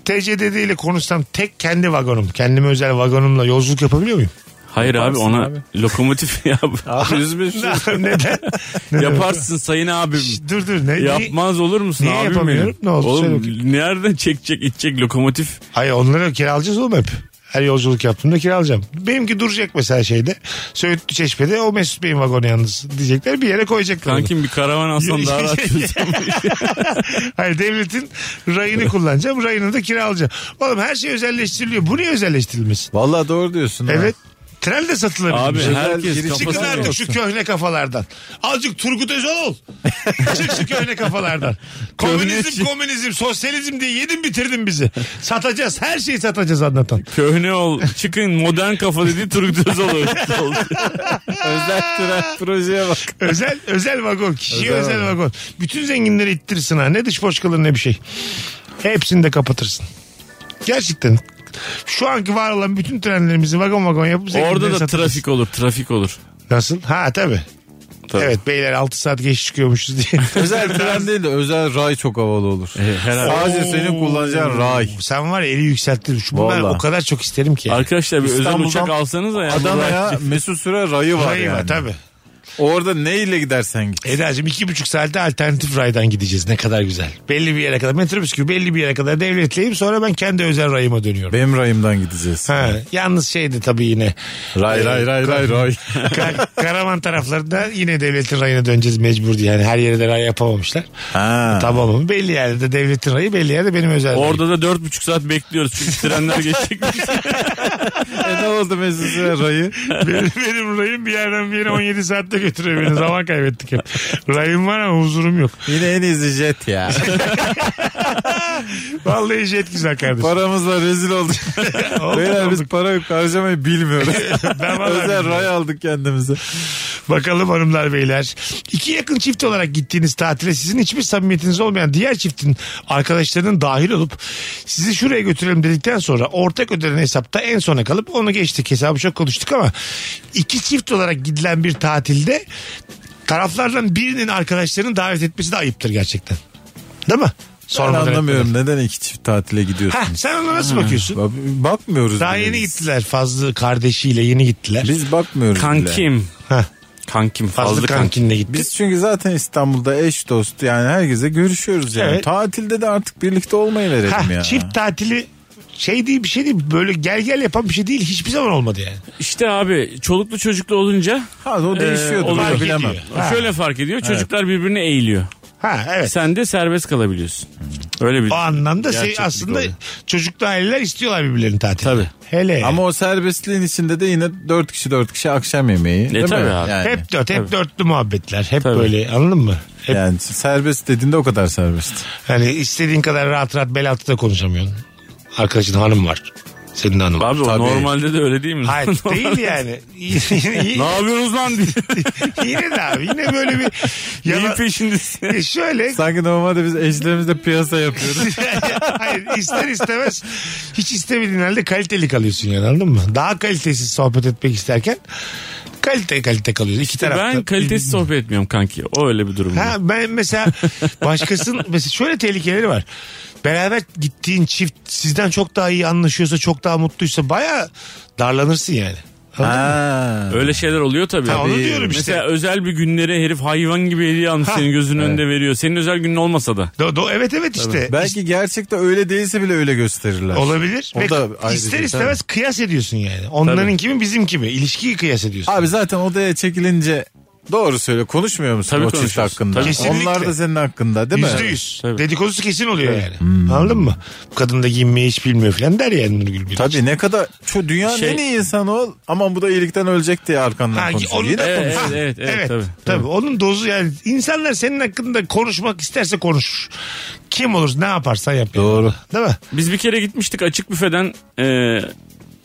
[SPEAKER 3] TCDD ile konuşsam tek kendi vagonum. Kendime özel vagonumla yolculuk yapabiliyor muyum?
[SPEAKER 5] Hayır abi
[SPEAKER 4] Yaparsın
[SPEAKER 5] ona
[SPEAKER 4] abi.
[SPEAKER 5] lokomotif yap.
[SPEAKER 4] Abi üzme şu-
[SPEAKER 3] Neden? Neden?
[SPEAKER 5] Yaparsın sayın abim.
[SPEAKER 3] Dur dur. Ne,
[SPEAKER 5] Yapmaz olur musun
[SPEAKER 3] Niye
[SPEAKER 5] abim
[SPEAKER 3] yapamıyorum?
[SPEAKER 5] benim?
[SPEAKER 3] Ne oldu? Söyle
[SPEAKER 5] Oğlum nereden çekecek içecek lokomotif?
[SPEAKER 3] Hayır onları kiralayacağız oğlum hep. Her yolculuk yaptığımda kiralayacağım. Benimki duracak mesela şeyde. Söğütlü Çeşme'de o Mesut Bey'in vagonu yalnız diyecekler. Bir yere koyacaklar. onu.
[SPEAKER 5] Kankim bir karavan alsan daha rahat çözeceğim.
[SPEAKER 3] Hayır devletin rayını kullanacağım. Rayını da kiralayacağım. Oğlum her şey özelleştiriliyor. Bu niye özelleştirilmesin?
[SPEAKER 4] Vallahi doğru diyorsun. ha.
[SPEAKER 3] Evet. Tren de satılabilir.
[SPEAKER 5] Abi
[SPEAKER 4] Özel
[SPEAKER 5] herkes
[SPEAKER 4] girişim
[SPEAKER 3] Çıkın
[SPEAKER 5] kafasına
[SPEAKER 3] artık şu köhne kafalardan. Azıcık Turgut Özal ol. Çık şu köhne kafalardan. Komünizm,
[SPEAKER 5] Köhne-
[SPEAKER 3] komünizm, sosyalizm diye yedin bitirdin bizi. Satacağız. Her şeyi satacağız anlatan.
[SPEAKER 5] Köhne ol. Çıkın modern kafa dediği Turgut Özal oldu.
[SPEAKER 4] Özel tren projeye bak.
[SPEAKER 3] Özel özel vagon. Kişiye özel,
[SPEAKER 4] Özel vagon.
[SPEAKER 3] vagon. Bütün zenginleri ittirsin ha. Ne dış boş kalır ne bir şey. Hepsini de kapatırsın. Gerçekten. Şu anki var olan bütün trenlerimizi vagon vagon yapıp zenginlere
[SPEAKER 5] Orada da
[SPEAKER 3] satacağız.
[SPEAKER 5] trafik olur. Trafik olur.
[SPEAKER 3] Nasıl? Ha tabii. Evet beyler 6 saat geç çıkıyormuşuz diye.
[SPEAKER 4] Özel tren değil de özel ray çok havalı olur.
[SPEAKER 5] Herhalde.
[SPEAKER 4] Sadece senin kullanacağın ray.
[SPEAKER 3] Sen var ya eli yükselttin. Şu bunlar
[SPEAKER 4] Vallahi.
[SPEAKER 3] o kadar çok isterim ki.
[SPEAKER 5] Arkadaşlar bir özel
[SPEAKER 4] İstanbul'dan
[SPEAKER 5] uçak alsanız ya.
[SPEAKER 4] Adana'ya Mesut Süre rayı var
[SPEAKER 3] Rayı
[SPEAKER 4] yani.
[SPEAKER 3] var tabii.
[SPEAKER 4] Orada neyle gidersen git.
[SPEAKER 3] Eda'cığım iki buçuk saatte alternatif raydan gideceğiz. Ne kadar güzel. Belli bir yere kadar. Metrobüs gibi belli bir yere kadar devletleyip sonra ben kendi özel rayıma dönüyorum.
[SPEAKER 4] Benim rayımdan gideceğiz.
[SPEAKER 3] Ha, yalnız şeydi tabii yine.
[SPEAKER 4] Ray ray ray ray ray.
[SPEAKER 3] Ka- Karaman taraflarında yine devletin rayına döneceğiz mecbur diye. Yani her yere de ray yapamamışlar.
[SPEAKER 4] Ha.
[SPEAKER 3] Tamam mı? Belli yerde de devletin rayı belli yerde benim özel rayım.
[SPEAKER 5] Orada da dört buçuk saat bekliyoruz. Çünkü trenler geçecek.
[SPEAKER 4] E ne aldı Mesut Süre rayı.
[SPEAKER 3] benim, benim rayım bir yerden bir yere 17 saatte götürüyor beni. Zaman kaybettik hep. Rayım var ama huzurum yok.
[SPEAKER 4] Yine en iyisi jet ya.
[SPEAKER 3] Vallahi jet güzel kardeşim.
[SPEAKER 4] Paramız var rezil olduk.
[SPEAKER 3] Olduk,
[SPEAKER 4] Beyler biz
[SPEAKER 3] olduk.
[SPEAKER 4] para harcamayı bilmiyoruz.
[SPEAKER 3] Ben vallahi
[SPEAKER 4] Özel
[SPEAKER 3] bilmiyorum.
[SPEAKER 4] ray aldık kendimize.
[SPEAKER 3] Bakalım hanımlar beyler. İki yakın çift olarak gittiğiniz tatile sizin hiçbir samimiyetiniz olmayan diğer çiftin arkadaşlarının dahil olup sizi şuraya götürelim dedikten sonra ortak ödenen hesapta en sona kalıp onu geçtik. Hesabı çok konuştuk ama iki çift olarak gidilen bir tatilde taraflardan birinin arkadaşlarını davet etmesi de ayıptır gerçekten. Değil mi?
[SPEAKER 4] Ben
[SPEAKER 3] Sormadan etmeden.
[SPEAKER 4] anlamıyorum neden iki çift tatile
[SPEAKER 3] Heh,
[SPEAKER 4] gidiyorsunuz.
[SPEAKER 3] sen ona nasıl bakıyorsun?
[SPEAKER 4] Bakmıyoruz.
[SPEAKER 3] Daha
[SPEAKER 4] bile
[SPEAKER 3] yeni
[SPEAKER 4] biz.
[SPEAKER 3] gittiler. Fazlı kardeşiyle yeni gittiler.
[SPEAKER 4] Biz bakmıyoruz. bile.
[SPEAKER 5] Kankim.
[SPEAKER 3] Heh,
[SPEAKER 5] Kankim
[SPEAKER 3] Fazlı,
[SPEAKER 5] fazla kankim.
[SPEAKER 3] kankinle gitti.
[SPEAKER 4] Biz çünkü zaten İstanbul'da eş dost yani herkese görüşüyoruz yani.
[SPEAKER 3] Evet.
[SPEAKER 4] Tatilde de artık birlikte olmayı verelim
[SPEAKER 3] Ha,
[SPEAKER 4] ya.
[SPEAKER 3] Çift tatili şey değil bir şey değil. Böyle gel gel yapan bir şey değil. Hiçbir zaman olmadı yani.
[SPEAKER 5] İşte abi çoluklu çocuklu olunca
[SPEAKER 4] Ha o değişiyordu.
[SPEAKER 5] Ee, oluyor.
[SPEAKER 4] ben bilemem.
[SPEAKER 3] Fark ediyor. Ha.
[SPEAKER 5] şöyle fark ediyor. Çocuklar birbirine eğiliyor.
[SPEAKER 3] Ha evet.
[SPEAKER 5] Sen de serbest kalabiliyorsun. Öyle bir
[SPEAKER 3] o anlamda şey
[SPEAKER 5] Gerçeklik
[SPEAKER 3] aslında
[SPEAKER 5] oluyor.
[SPEAKER 3] çocuklu aileler istiyorlar birbirlerini tatil.
[SPEAKER 5] Tabii.
[SPEAKER 3] Hele.
[SPEAKER 4] Ama o serbestliğin içinde de yine dört kişi dört kişi akşam yemeği. değil
[SPEAKER 5] tabii
[SPEAKER 4] mi?
[SPEAKER 5] abi.
[SPEAKER 4] Yani,
[SPEAKER 3] hep dört, hep dörtlü muhabbetler. Hep
[SPEAKER 5] Tabii.
[SPEAKER 3] böyle anladın mı? Hep
[SPEAKER 4] yani serbest dediğinde o kadar serbest.
[SPEAKER 3] hani istediğin kadar rahat rahat bel altı da konuşamıyorsun. Arkadaşın hanım var. Senin hanım.
[SPEAKER 5] Abi o
[SPEAKER 4] Tabii.
[SPEAKER 5] normalde de öyle değil mi?
[SPEAKER 3] Hayır değil yani.
[SPEAKER 5] ne yapıyorsunuz lan diye.
[SPEAKER 3] yine de abi yine böyle bir
[SPEAKER 5] Neyin
[SPEAKER 3] yana,
[SPEAKER 5] peşindesin?
[SPEAKER 3] E şöyle
[SPEAKER 4] Sanki normalde biz eşlerimizle piyasa yapıyoruz.
[SPEAKER 3] Hayır ister istemez hiç istemediğin halde kaliteli kalıyorsun yani anladın mı? Daha kalitesiz sohbet etmek isterken kalite kalite kalıyorsun. İki tarafta.
[SPEAKER 5] ben kalitesiz sohbet etmiyorum kanki. O öyle bir durum.
[SPEAKER 3] Ha, ben mesela başkasının mesela şöyle tehlikeleri var. Beraber gittiğin çift sizden çok daha iyi anlaşıyorsa çok daha mutluysa baya darlanırsın yani. Anladın mı?
[SPEAKER 4] ha.
[SPEAKER 5] Öyle şeyler oluyor tabii.
[SPEAKER 3] Ha, onu diyorum işte.
[SPEAKER 5] Mesela özel bir günlere herif hayvan gibi hediye almış
[SPEAKER 3] Ha.
[SPEAKER 5] senin gözünün önünde veriyor. Senin özel günün olmasa da.
[SPEAKER 3] Do- do- evet evet işte.
[SPEAKER 4] Belki gerçekte öyle değilse bile öyle gösterirler.
[SPEAKER 3] Olabilir.
[SPEAKER 4] O
[SPEAKER 3] Ve
[SPEAKER 4] da ayrı şey,
[SPEAKER 3] ister
[SPEAKER 4] değil,
[SPEAKER 3] istemez kıyas ediyorsun yani. Onların kimi bizim kimi. İlişkiyi kıyas ediyorsun.
[SPEAKER 4] Abi zaten odaya çekilince doğru söyle konuşmuyor musun
[SPEAKER 5] Tabii
[SPEAKER 4] o çift
[SPEAKER 5] konuşuyoruz.
[SPEAKER 4] hakkında?
[SPEAKER 5] Tabii.
[SPEAKER 3] Kesinlikle.
[SPEAKER 4] Onlar da senin hakkında değil mi? Hmm.
[SPEAKER 3] Yüzde yüz.
[SPEAKER 5] Tabii.
[SPEAKER 3] Dedikodusu kesin oluyor yani. Anladın mı? Bu kadın da giyinmeyi hiç bilmiyor falan der yani Nurgül Birinci.
[SPEAKER 4] Tabii ne kadar şu dünyanın
[SPEAKER 5] Şey-
[SPEAKER 4] en iyi insanı ol aman bu da iyilikten ölecek diye arkandan
[SPEAKER 3] Ha,
[SPEAKER 4] konuşuyor.
[SPEAKER 3] onun
[SPEAKER 4] Yine
[SPEAKER 3] da-
[SPEAKER 5] Evet,
[SPEAKER 3] Ha,
[SPEAKER 5] evet, evet,
[SPEAKER 3] evet.
[SPEAKER 5] tabii,
[SPEAKER 3] Tabii, Onun dozu yani insanlar senin hakkında konuşmak isterse konuşur. Kim olur ne yaparsan yap. yani.
[SPEAKER 4] Doğru.
[SPEAKER 3] Değil mi?
[SPEAKER 5] Biz bir kere gitmiştik açık büfeden e,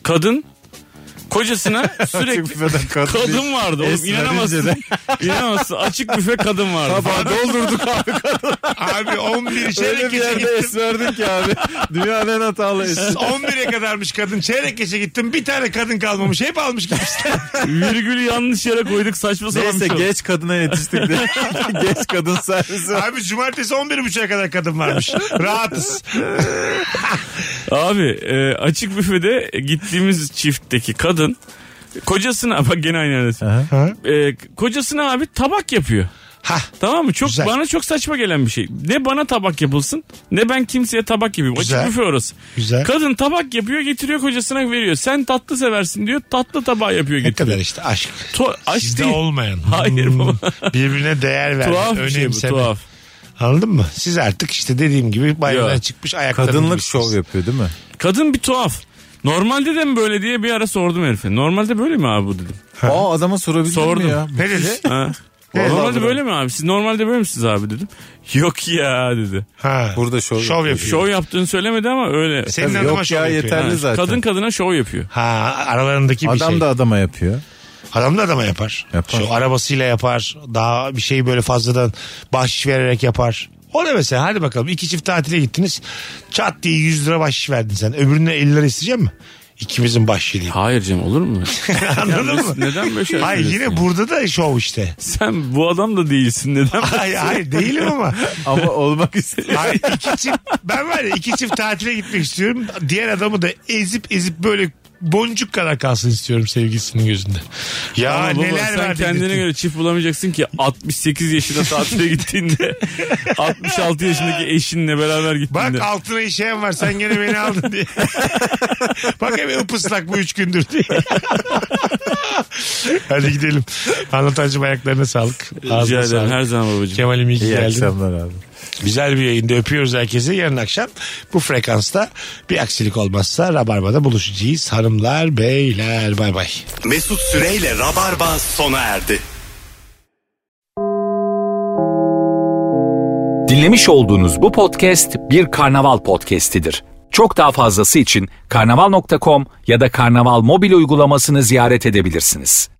[SPEAKER 5] kadın kocasına sürekli
[SPEAKER 4] büfeden kadın
[SPEAKER 5] kadın vardı. Oğlum,
[SPEAKER 4] Esmer
[SPEAKER 5] inanamazsın.
[SPEAKER 4] İnce'de.
[SPEAKER 5] İnanamazsın. Açık büfe kadın vardı.
[SPEAKER 4] doldurduk abi.
[SPEAKER 3] Abi 11
[SPEAKER 4] Öyle
[SPEAKER 3] çeyrek
[SPEAKER 4] bir
[SPEAKER 3] geçe
[SPEAKER 4] yerde
[SPEAKER 3] gittim.
[SPEAKER 4] esmerdik ki abi. Dünyanın en hatalı esmer.
[SPEAKER 3] 11'e kadarmış kadın. Çeyrek geçe gittim. Bir tane kadın kalmamış. Hep almış gitmişler.
[SPEAKER 5] Virgülü yanlış yere koyduk saçma sapan
[SPEAKER 4] Neyse
[SPEAKER 5] bir şey oldu.
[SPEAKER 4] geç kadına yetiştik de. geç kadın servisi.
[SPEAKER 3] Abi cumartesi 11.30'a kadar kadın varmış. Rahatız.
[SPEAKER 5] Abi e, açık büfede gittiğimiz çiftteki kadın kocasına bak gene aynı yerdesin. E, kocasına abi tabak yapıyor.
[SPEAKER 3] Hah.
[SPEAKER 5] Tamam mı? Çok
[SPEAKER 3] Güzel.
[SPEAKER 5] bana çok saçma gelen bir şey. Ne bana tabak yapılsın ne ben kimseye tabak yapayım.
[SPEAKER 3] Güzel.
[SPEAKER 5] Açık büfe orası.
[SPEAKER 3] Güzel.
[SPEAKER 5] Kadın tabak yapıyor getiriyor kocasına veriyor. Sen tatlı seversin diyor. Tatlı tabağı yapıyor
[SPEAKER 3] Ne
[SPEAKER 5] getiriyor.
[SPEAKER 3] kadar işte aşk.
[SPEAKER 5] To- aç
[SPEAKER 3] Sizde
[SPEAKER 5] değil.
[SPEAKER 3] olmayan.
[SPEAKER 5] Hayır
[SPEAKER 3] Hmm.
[SPEAKER 5] baba.
[SPEAKER 3] Birbirine değer verme.
[SPEAKER 5] Tuhaf bir şey bu
[SPEAKER 3] önemseme.
[SPEAKER 5] tuhaf.
[SPEAKER 3] Anladın mı? Siz artık işte dediğim gibi bayramdan
[SPEAKER 5] Yok.
[SPEAKER 3] çıkmış ayaklarınız.
[SPEAKER 4] Kadınlık şov yapıyor değil mi?
[SPEAKER 5] Kadın bir tuhaf. Normalde de mi böyle diye bir ara sordum herife. Normalde böyle mi abi bu dedim.
[SPEAKER 4] Aa adama sorabilir
[SPEAKER 5] Sordum.
[SPEAKER 4] mi ya?
[SPEAKER 3] Ne dedi?
[SPEAKER 5] Ha.
[SPEAKER 3] Evet.
[SPEAKER 5] normalde böyle mi abi? Siz normalde böyle misiniz abi dedim. Yok ya dedi.
[SPEAKER 3] Ha.
[SPEAKER 4] Burada şov
[SPEAKER 3] şov yapıyor.
[SPEAKER 5] Şov yaptığını söylemedi ama öyle.
[SPEAKER 3] Senin
[SPEAKER 4] Tabii,
[SPEAKER 3] adama
[SPEAKER 4] yok
[SPEAKER 3] şov
[SPEAKER 4] ya,
[SPEAKER 3] yapıyor.
[SPEAKER 4] yeterli.
[SPEAKER 5] Ha,
[SPEAKER 4] zaten.
[SPEAKER 5] Kadın kadına şov yapıyor.
[SPEAKER 3] Ha aralarındaki bir
[SPEAKER 4] Adam
[SPEAKER 3] şey.
[SPEAKER 4] da adama yapıyor.
[SPEAKER 3] Adam da adama yapar.
[SPEAKER 4] Yapar.
[SPEAKER 3] Şu arabasıyla yapar. Daha bir şeyi böyle fazladan bahşiş vererek yapar. O da mesela hadi bakalım iki çift tatile gittiniz. Çat diye 100 lira bahşiş verdin sen. Öbürüne 50 lira isteyecek mi? İkimizin bahşişi diye.
[SPEAKER 5] Hayır Cem olur mu?
[SPEAKER 3] Anladın mı?
[SPEAKER 5] Neden böyle şeyler
[SPEAKER 3] Hayır yine
[SPEAKER 5] söylüyorsun ya?
[SPEAKER 3] burada da şov işte.
[SPEAKER 5] Sen bu adam da değilsin neden?
[SPEAKER 3] Hayır, hayır değilim ama.
[SPEAKER 4] Ama olmak istiyor.
[SPEAKER 3] Hayır, iki çift, ben var ya iki çift tatile gitmek istiyorum. Diğer adamı da ezip ezip böyle boncuk kadar kalsın istiyorum sevgilisinin gözünde. Ya
[SPEAKER 5] Ama baba,
[SPEAKER 3] neler
[SPEAKER 5] sen
[SPEAKER 3] var
[SPEAKER 5] kendine
[SPEAKER 3] dedirtin.
[SPEAKER 5] göre çift bulamayacaksın ki 68 yaşında tatile gittiğinde 66 yaşındaki eşinle beraber
[SPEAKER 3] Bak
[SPEAKER 5] gittiğinde.
[SPEAKER 3] altına işeyen var sen gene beni aldın diye. Bak hep ıpıslak bu üç gündür diye. Hadi gidelim. Anlatancım ayaklarına sağlık.
[SPEAKER 5] Rica
[SPEAKER 3] Ağzına
[SPEAKER 5] ederim
[SPEAKER 3] sağlık.
[SPEAKER 5] her zaman babacığım.
[SPEAKER 3] Kemal'im iyi ki
[SPEAKER 4] İyi
[SPEAKER 3] geldin.
[SPEAKER 4] akşamlar abi.
[SPEAKER 3] Güzel bir yayında öpüyoruz herkese. Yarın akşam bu frekansta bir aksilik olmazsa Rabarba'da buluşacağız. Hanımlar, beyler bay bay.
[SPEAKER 2] Mesut Süreyle Rabarba sona erdi.
[SPEAKER 1] Dinlemiş olduğunuz bu podcast bir karnaval podcastidir. Çok daha fazlası için karnaval.com ya da karnaval mobil uygulamasını ziyaret edebilirsiniz.